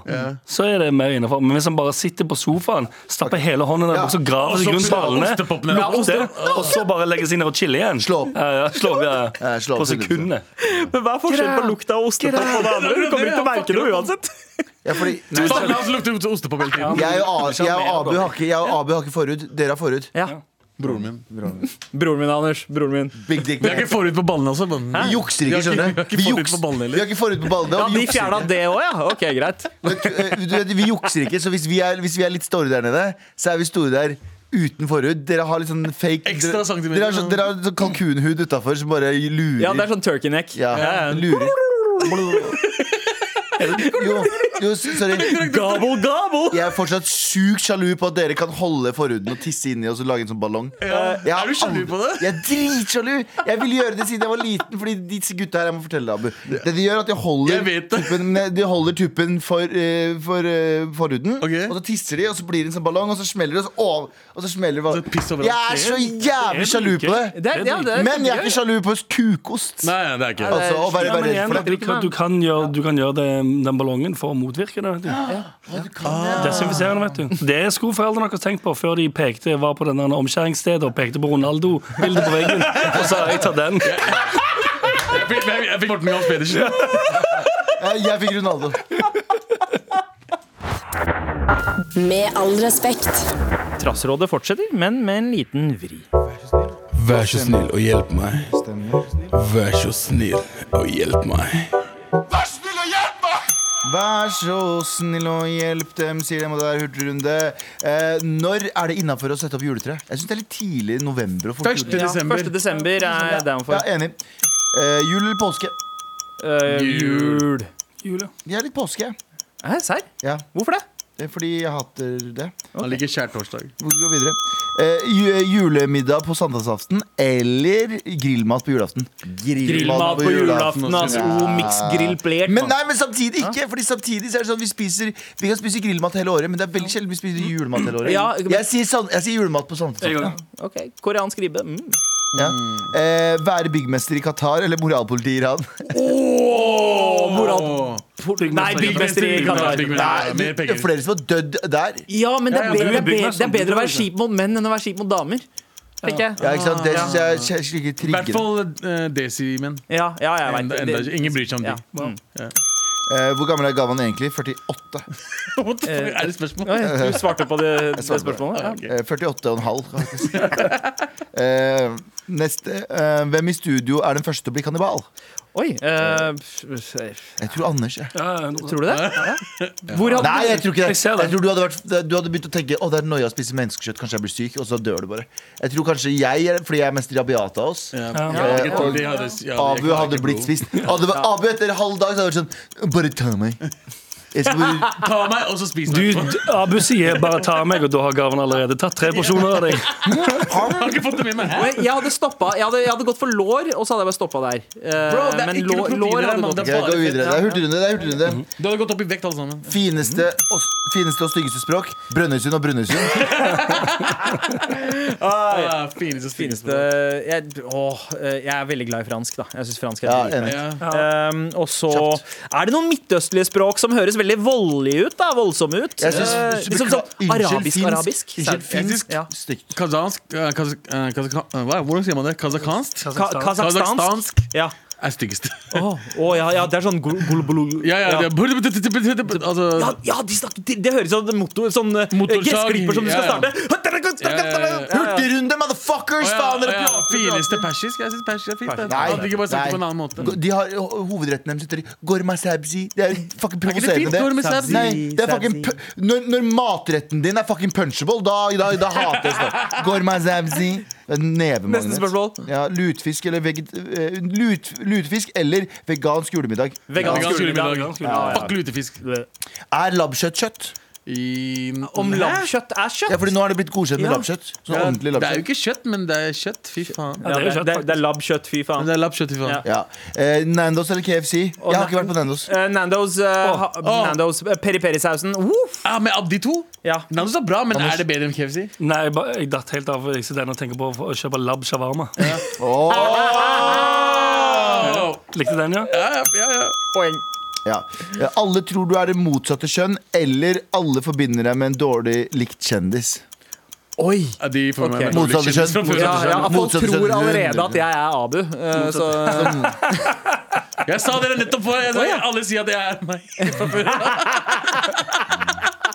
D: så er det mer innenfor. Men hvis han bare sitter på sofaen, stapper hele hånden der,
E: Ja.
D: og så graver seg
I: Og så
D: rundt
I: putter han
D: ballene,
I: ostepop ned.
D: lukter, og så bare legger seg ned og chiller igjen
E: Slå opp.
D: Ja, ja, slå opp, ja.
E: Ja, slå liksom. opp
D: På sekundet.
B: Men hva er forskjellen på lukta av ostepop og det andre? Du kommer ikke til å merke det uansett.
E: Ja, fordi
I: Nei,
C: La oss lukte ostepop hele tiden.
E: jeg og, A- jeg og Abu har ikke, jeg og Abu har ikke forhud. Dere har forhud.
C: Broren min.
B: Broren min, Anders. Broren min.
E: Big dick.
C: Vi er ikke forut på ballene, altså.
E: Vi jukser ikke,
C: Vi har ikke-
E: skjønner
C: vi har
E: du.
C: ikke
E: Vi
C: forhud
E: jukser-
C: på ballene heller.
E: Vi har ikke forhud på ballene.
B: Ja,
E: og vi
B: de
E: jukser
B: fjerna det òg, ja? Ok, greit.
E: Men du, eh, du vet, vi jukser ikke, så hvis vi, er, hvis vi er litt store der nede, så er vi store der uten forhud. Dere har litt sånn fake
C: Ekstra centimeter,
E: Dere, dere har sånn, dere har sånn kalkunhud utafor som bare lurer.
B: Ja, det er sånn turkey neck.
E: Ja,
B: Ja, ja.
E: lurer. Jo, jo, sorry.
B: Gobble, gobble!
E: Jeg er fortsatt sjukt sjalu på at dere kan holde forhuden og tisse inni og så lage en sånn ballong. Jeg har
C: Er du sjalu
E: aldri-
C: på det?
E: Jeg er dritsjalu! Jeg ville gjøre det siden jeg var liten, Fordi disse gutta her Jeg må fortelle deg, Abu. Det de gjør, er at de
C: Jeg
E: holder
C: vet det.
E: tuppen, de holder tuppen for, eh, for eh, forhuden,
C: Ok.
E: og så tisser de, og så blir det en sånn ballong, og så smeller det, og så, å, og så smeller det.
C: Så piss over
E: Jeg er så jævlig sjalu på det!
B: Det er, ja, det er
E: Men jeg er ikke sjalu på kukost.
C: Nei, nei, det er ikke det.
E: Altså, å være,
D: Ja, men
E: være
D: igjen,
E: redd for
D: du
E: det.
D: kan, du kan gjøre, du kan gjøre det, den ballongen for å motvirke det. Vet du. Ah. Desinfiserende, vet du. Det skulle foreldrene deres tenkt på før de pekte, var på denne omskjæringsstedet og pekte på Ronaldo-bildet på veggen. Og sa jeg tar den.
C: Jeg fikk- Jeg jeg fikk Morten Gahls Pedersen.
E: Jeg, jeg fikk Ronaldo.
F: Med all respekt.
B: Trassrådet fortsetter, men med en liten vri.
C: Vær så snill og hjelp meg. Vær så snill og hjelp meg.
E: Vær så snill og hjelp dem, sier dem, og det er hurtigrunde. Eh, når er det innafor å sette opp juletre? Jeg syns det er litt tidlig i november. å få opp
C: Første
E: juletre.
C: desember.
B: 1. desember er jeg down
E: Ja,
B: for.
E: enig. Eh, jul eller påske?
B: Eh, jul.
D: Julia.
E: Jeg er litt påske, jeg.
B: Hæ, serr?
E: Ja,
B: Hvorfor det?
E: det er fordi jeg hater det.
C: Han liker skjærtorsdag.
E: Vi går videre. Eh, ju julemiddag på sankthansaften eller grillmat på julaften?
B: Grillmat på julaften, altså. Oh, miksgrillplert.
E: Men nei, men samtidig ikke. Fordi samtidig så er det sånn vi spiser Vi kan spise grillmat hele året, men det er veldig sjelden vi spiser julemat hele året.
B: Ja, men-
E: jeg, sier san- jeg sier julemat på
D: Jeg
E: sankthansaften.
D: òg.
B: Ok, koreansk ribbe. Mm.
E: Ja. Eh, være byggmester i Qatar eller moralpoliti i Iran?
B: Nei, byggmester i Qatar.
C: Nei,
E: Nei,
C: mer
E: det er
C: penger.
E: flere som har dødd der.
B: Ja, men det er,
D: Ja,
B: bedre, det, er
D: ja, du er
B: bedre,
D: byggmester.
B: det
C: sånn
B: er bedre å være kjip mot menn enn å være kjip mot damer. Tenker jeg.
E: Ja, ikke sant? Det syns jeg er sl-
C: I
E: slike
C: hvert
E: triggende.
C: fall eh, Desi-menn.
B: Ja, ja, jeg vet
C: Enda-
B: det.
C: enda ikke. Ingen bryr seg om
B: Ja.
C: de.
B: Mm.
E: Eh, hvor gammel er Gavan egentlig? 48.
C: What the fuck? Er det spørsmål?
B: Oi, Du svarte på det, det spørsmålet? Ja.
E: Eh, 48 og en halv, faktisk. eh, neste. Eh, hvem i studio er den første til å bli kannibal?
B: Oi. eh, pff, pff,
E: Jeg tror Anders. Jeg.
D: Ja, ja,
B: tror du det? Hvor hadde
E: Nei, jeg tror ikke det.
D: Jeg ser det.
E: Jeg tror du hadde, vært, du hadde begynt å tenke Å, det er noia å spise menneskekjøtt, kanskje jeg blir syk, og så dør du bare. Jeg tror kanskje jeg, er- fordi jeg er mest rabiat av oss Eh,
C: Ja.
D: Ja.
C: Ja, ikke tål de hadde- ja, de
E: Abu
C: ikke-
E: hadde
C: ikke
E: blitt
C: blod.
E: spist. Abu, Abu etter halv dag så hadde det vært sånn Bare ta meg. Jeg skal bare
C: Ta meg, og så spis
D: Du,
C: meg.
D: d- Abu sier 'bare ta meg', og da har Gaven allerede tatt tre porsjoner av deg.
C: Jeg har ikke fått det med meg.
B: Men Jeg hadde, stoppet, jeg, hadde, jeg hadde gått for lår, og så hadde jeg bare stoppa der. Eh,
C: Bro, det er
B: men
C: ikke noe
B: lår,
C: proteiner
B: lår
C: der,
B: hadde
C: mann.
B: gått
C: Det
E: Ok, jeg går videre. Det er hurtigrunde. det er hurtigrunde
C: Du hadde gått opp i vekt, alle sammen.
E: Fineste og, fineste og styggeste språk? Brønnøysund og Brønnøysund.
C: Ah, fineste, fineste.
B: fineste jeg, åh, eh, jeg er veldig glad i fransk, da. Jeg syns fransk er
E: Ja,
B: dritbra.
E: enig.
C: Ja.
B: Ehm, og så er det noen midtøstlige språk som høres høres veldig voldelige ut. da, Voldsomme ut.
E: Jeg synes-
B: Eh, liksom sånn arabisk-arabisk.
E: Unnskyld, finsk.
B: Ja.
E: Stygt.
C: Kazansk eh, kazak, eh, kazak, eh, hva- Hvordan sier man det? Kazakansk?
B: Ka Kasakhstansk. Ja.
C: Er styggest.
B: Å, å, ja, ja, det er sånn gul, gul, gul-
C: Ja, ja, det er-
B: Ja,
C: altså,
B: ja, de snakker, det, det høres ut som motor, sånn eh,
C: Motorsag.
B: gressklipper som du skal
C: Ja, ja.
B: starte.
C: ja.
E: Hurtigrunde, motherfuckers!
C: Å
E: Faen, dere
C: ja, å ja,
E: prater!
C: Fineste persisk. Jeg syns persisk er fint. det.
E: Nei,
C: At de ikke bare snakker på en annen måte.
E: Go- De har ho- hovedretten deres heter Gorma sabzi. Det er
C: ikke
E: fucking
C: det
E: provoserende,
C: fint, gorma sabzi?
E: Nei, det er fucking pu- når, når matretten din er fucking punchable, da, da, da hater jeg det. Gorma sabzi. Det er en Nevemagnet.
B: Neste spørsmål.
E: Ja, lutfisk, eller veget, eh, lut, lutfisk eller vegansk julemiddag.
B: Vegansk
C: Vegansk
B: julemiddag.
C: julemiddag. Fuck lutefisk.
E: Er labbkjøtt kjøtt?
C: I-
B: Om
C: Hæ?
B: lammkjøtt er kjøtt?
E: Ja, fordi nå er det blitt godkjent med
B: Ja.
E: labbkjøtt. Sånn
C: Ja,
E: ordentlig
C: Det er jo
E: labbkjøtt.
C: ikke kjøtt, men det er kjøtt. Fy faen.
B: Ja, det,
D: er jo kjøtt,
B: det, det er labbkjøtt, fy faen.
C: Det er lappkjøtt, fy faen.
B: Ja.
E: Ja. Eh, Nandos eller KFC? Jeg har ikke vært på Nandos.
B: Eh, Nandos, eh, ha-
C: Åh.
B: Nandos eh, peri-peri-sausen. Woof!
C: Ja, men av de to
B: Ja.
C: Nandos er bra, men er det bedre enn KFC?
D: Nei, jeg, bare, jeg datt helt av jeg sitter ennå og tenker på å kjøpe lab shawarma.
C: Oh.
D: Likte den, ja?
C: Ja, ja, ja, ja.
E: Ja. Ja, Alle tror du er det motsatte kjønn, eller alle forbinder deg med en dårlig likt kendis.
B: Oi!
C: Ja, De får meg
B: Ok.
C: med
E: Motsatt
C: dårlig
E: kjønn.
C: kjendis.
B: Ja, ja, folk
E: Motsatt kjønn.
B: tror allerede at jeg er Abu. eh, Så
C: Jeg sa dere nettopp for jeg sa, Alle sier at jeg er meg fra før.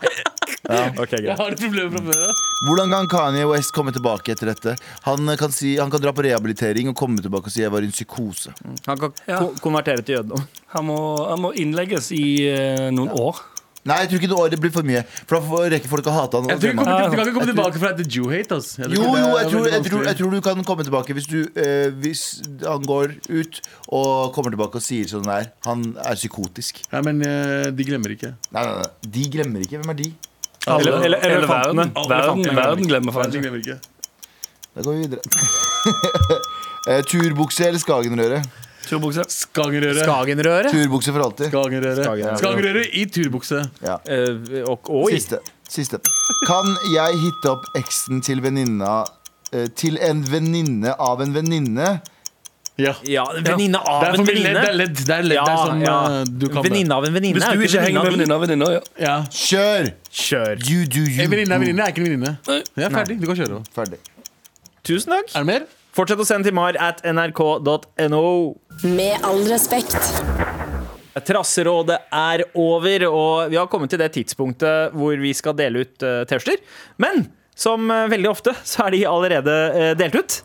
C: Jeg har et problem fra før.
E: Hvordan kan Kanye West komme tilbake etter dette? Han kan, si, han kan dra på rehabilitering og komme tilbake og si jeg var i en psykose.
B: Han kan ko- konvertere til jødedom.
D: Han må, han må innlegges i eh, noen år.
E: Nei, jeg tror ikke det, året blir for mye. For da får- rekker folk å hate han. og
C: Jeg tror
E: glemme
C: ikke
E: han.
C: Du kan ikke komme tilbake fra et Jew-hate. ass. Jeg tror
E: Jo,
C: ikke det er
E: jo, jeg tror,
C: veldig
E: jeg, tror, jeg
C: vanskelig.
E: tror du kan komme tilbake hvis, du, eh, hvis han går ut og kommer tilbake og sier sånn der. Han er psykotisk.
C: Nei, men eh, de glemmer ikke.
E: Nei, nei, nei. De glemmer ikke. Hvem er de?
B: Eller, eller, eller
D: Hele verden,
B: elefantene.
D: verden, verden glemmer
C: Verden
D: faktisk.
C: glemmer ikke.
E: Da går vi videre. Eh, Turbukse eller Skagenrøre?
D: Turbukse.
C: Skangerøre.
B: Skagenrøret.
E: Turbukse for alltid.
C: Skangerøre.
E: Skangerøre.
C: Skangerøre i turbukse.
E: Ja.
B: Eh, og, oi.
E: Siste. Siste. Kan jeg hitte opp eksen til venninna eh, Til en venninne av en venninne?
C: Ja.
B: Ja, venninne av
C: Det er
B: en
C: for mye ledd.
B: venninne.
C: Det er ledd. Det er ledd. Det er sånn eh, du kan det.
B: venninne av en venninne.
D: Hvis
B: er
D: du ikke henger med
B: venninne
D: venninna, venninna, ja.
C: Ja.
B: av
E: Kjør!
B: en- Kjør.
E: You do you.
C: En Eh, venninne er en venninne, er ikke en venninne. Jeg er ferdig. Du kan kjøre.
E: Ferdig.
B: Tusen takk.
C: Er det mer?
B: Fortsett å sende til mar at nrk.no.
F: Med all respekt.
B: Trasserådet er over, og vi har kommet til det tidspunktet hvor vi skal dele ut eh, T-skjorter. Men som eh, veldig ofte, så er de allerede eh, delt ut.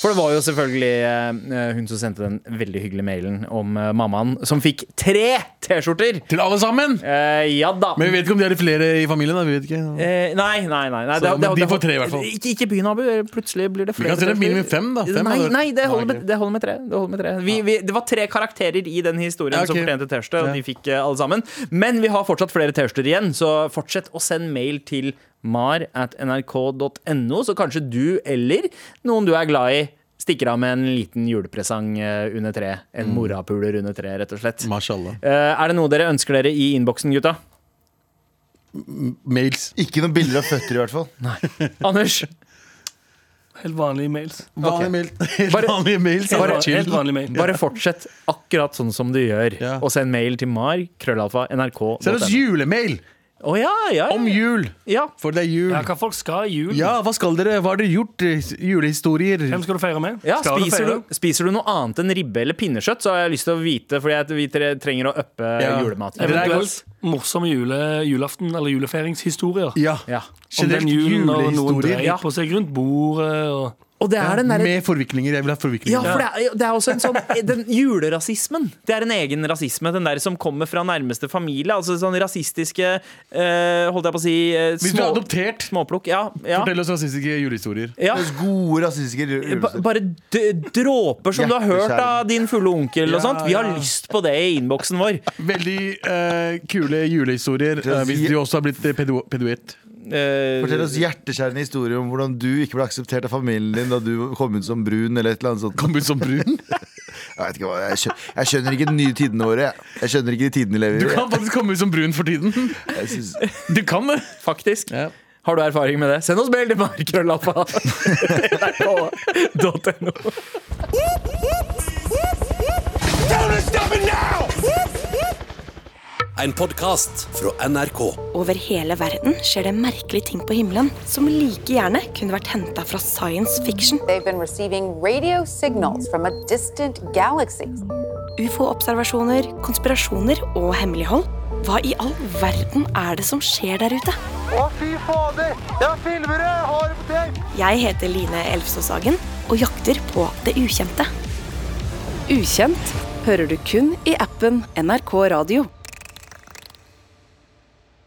B: For det var jo selvfølgelig eh, hun som sendte den veldig hyggelige mailen om eh, mammaen som fikk tre T-skjorter.
C: Til alle sammen!
B: Eh, ja da.
C: Men vi vet ikke om de er flere i familien. da, vi vet ikke
B: Eh, nei, nei, nei. nei
C: Så, men de får tre i hvert fall.
B: Ikke, ikke begynn, Abu. Plutselig blir det
C: Vi
B: flere.
C: kan sende
B: T-skjorter.
C: minimum fem, da. Fem
B: nei,
C: hadde vært-
B: nei det, holder
C: Ja,
B: med,
C: ok.
B: det holder med tre. Det, holder med tre. Vi, vi, det var tre karakterer i den historien
C: Ja, ok.
B: som fortjente T-skjorte, og
C: Ja.
B: de fikk eh, alle sammen. Men vi har fortsatt flere T-skjorter igjen, så fortsett å sende mail til mar at nrk.no, så kanskje du eller noen du er glad i, stikker av med en liten julepresang eh, under treet. En
C: Mm.
B: morapuler under treet, rett og slett.
C: Mashallah.
B: Eh, er det noe dere ønsker dere i innboksen, gutta?
C: Mails.
E: Ikke noen bilder av føtter, i hvert fall.
B: Anders?
D: Helt vanlige mails.
C: Vanlige mail. Helt
B: Bare-
C: vanlige mails.
D: Helt,
B: Bare-
D: van- helt vanlige mail.
B: Bare fortsett akkurat sånn som du gjør.
C: Ja.
B: Og send mail til mar, krøllalfa, nrk.no.
C: Send oss julemail
B: Å ja, ja,
C: om
B: ja.
C: jul,
B: ja.
C: for det er jul.
D: Ja, hva folk skal i jul?
C: Ja, hva skal dere? Hva har dere gjort? eh, Julehistorier?
D: Hvem skal du feire med?
B: Ja,
D: skal
B: spiser,
D: feire?
B: du, spiser du noe annet enn ribbe eller pinnekjøtt, så har jeg lyst til å vite, fordi jeg, vi tre- trenger å uppe
C: Ja.
B: julematen.
C: Det er
D: Eventuelt morsomme jule, julaften- eller juleferingshistorier.
C: Ja.
B: Ja.
D: Om den julen og noen
C: julehistorier.
D: dreier på seg rundt bordet og
B: Og det er den derre
C: Med forviklinger. Jeg vil ha forviklinger.
B: ja, for det er, det er også en sånn den Julerasismen. Det er en egen rasisme. Den der som kommer fra nærmeste familie. Altså sånn rasistiske eh, Holdt jeg på å si eh,
C: Hvis du er
B: små,
C: adoptert,
B: Småplukk. Ja. ja,
C: fortell oss rasistiske julehistorier.
B: ja.
E: Det er Gode rasistiske
C: Eh,
B: Ba-
E: røvelser.
B: Bare d- dråper som du har hørt
E: Hjerteskjærende.
B: av din fulle onkel og
C: Ja,
B: sånt. Vi har
C: ja.
B: lyst på det i innboksen vår.
C: Veldig eh, kule julehistorier eh, hvis du også har blitt eh, pedo pedoet.
B: Eh,
E: Fortell oss hjerteskjærende historier om hvordan du ikke ble akseptert av familien din da du kom ut som brun. eller et eller annet sånt
C: Kom ut som brun.
E: Jeg, vet ikke hva, jeg, skjønner, jeg skjønner ikke de nye tidene våre. jeg. Jeg skjønner ikke de tidene vi
C: Du
E: lever i.
C: kan faktisk komme ut som brun for tiden.
E: Jeg synes,
C: Du kan det.
B: faktisk.
C: Ja.
B: Har du erfaring med det? Send oss mail til markrøllalfa. NRK.no.
I: Tell them to stop it now!
J: En podkast fra NRK.
K: Over hele verden skjer det merkelige ting på himmelen som like gjerne kunne vært henta fra science fiction.
L: They've been receiving radio signals from a distant galaxy.
K: Ufo-observasjoner, konspirasjoner og hemmelighold. Hva i all verden er det som skjer der ute?
M: Å, fy fader! Jeg filmer det! Jeg har det på tape!
K: Jeg heter Line Elfsås Hagen og jakter på det ukjente.
A: Ukjent hører du kun i appen NRK Radio.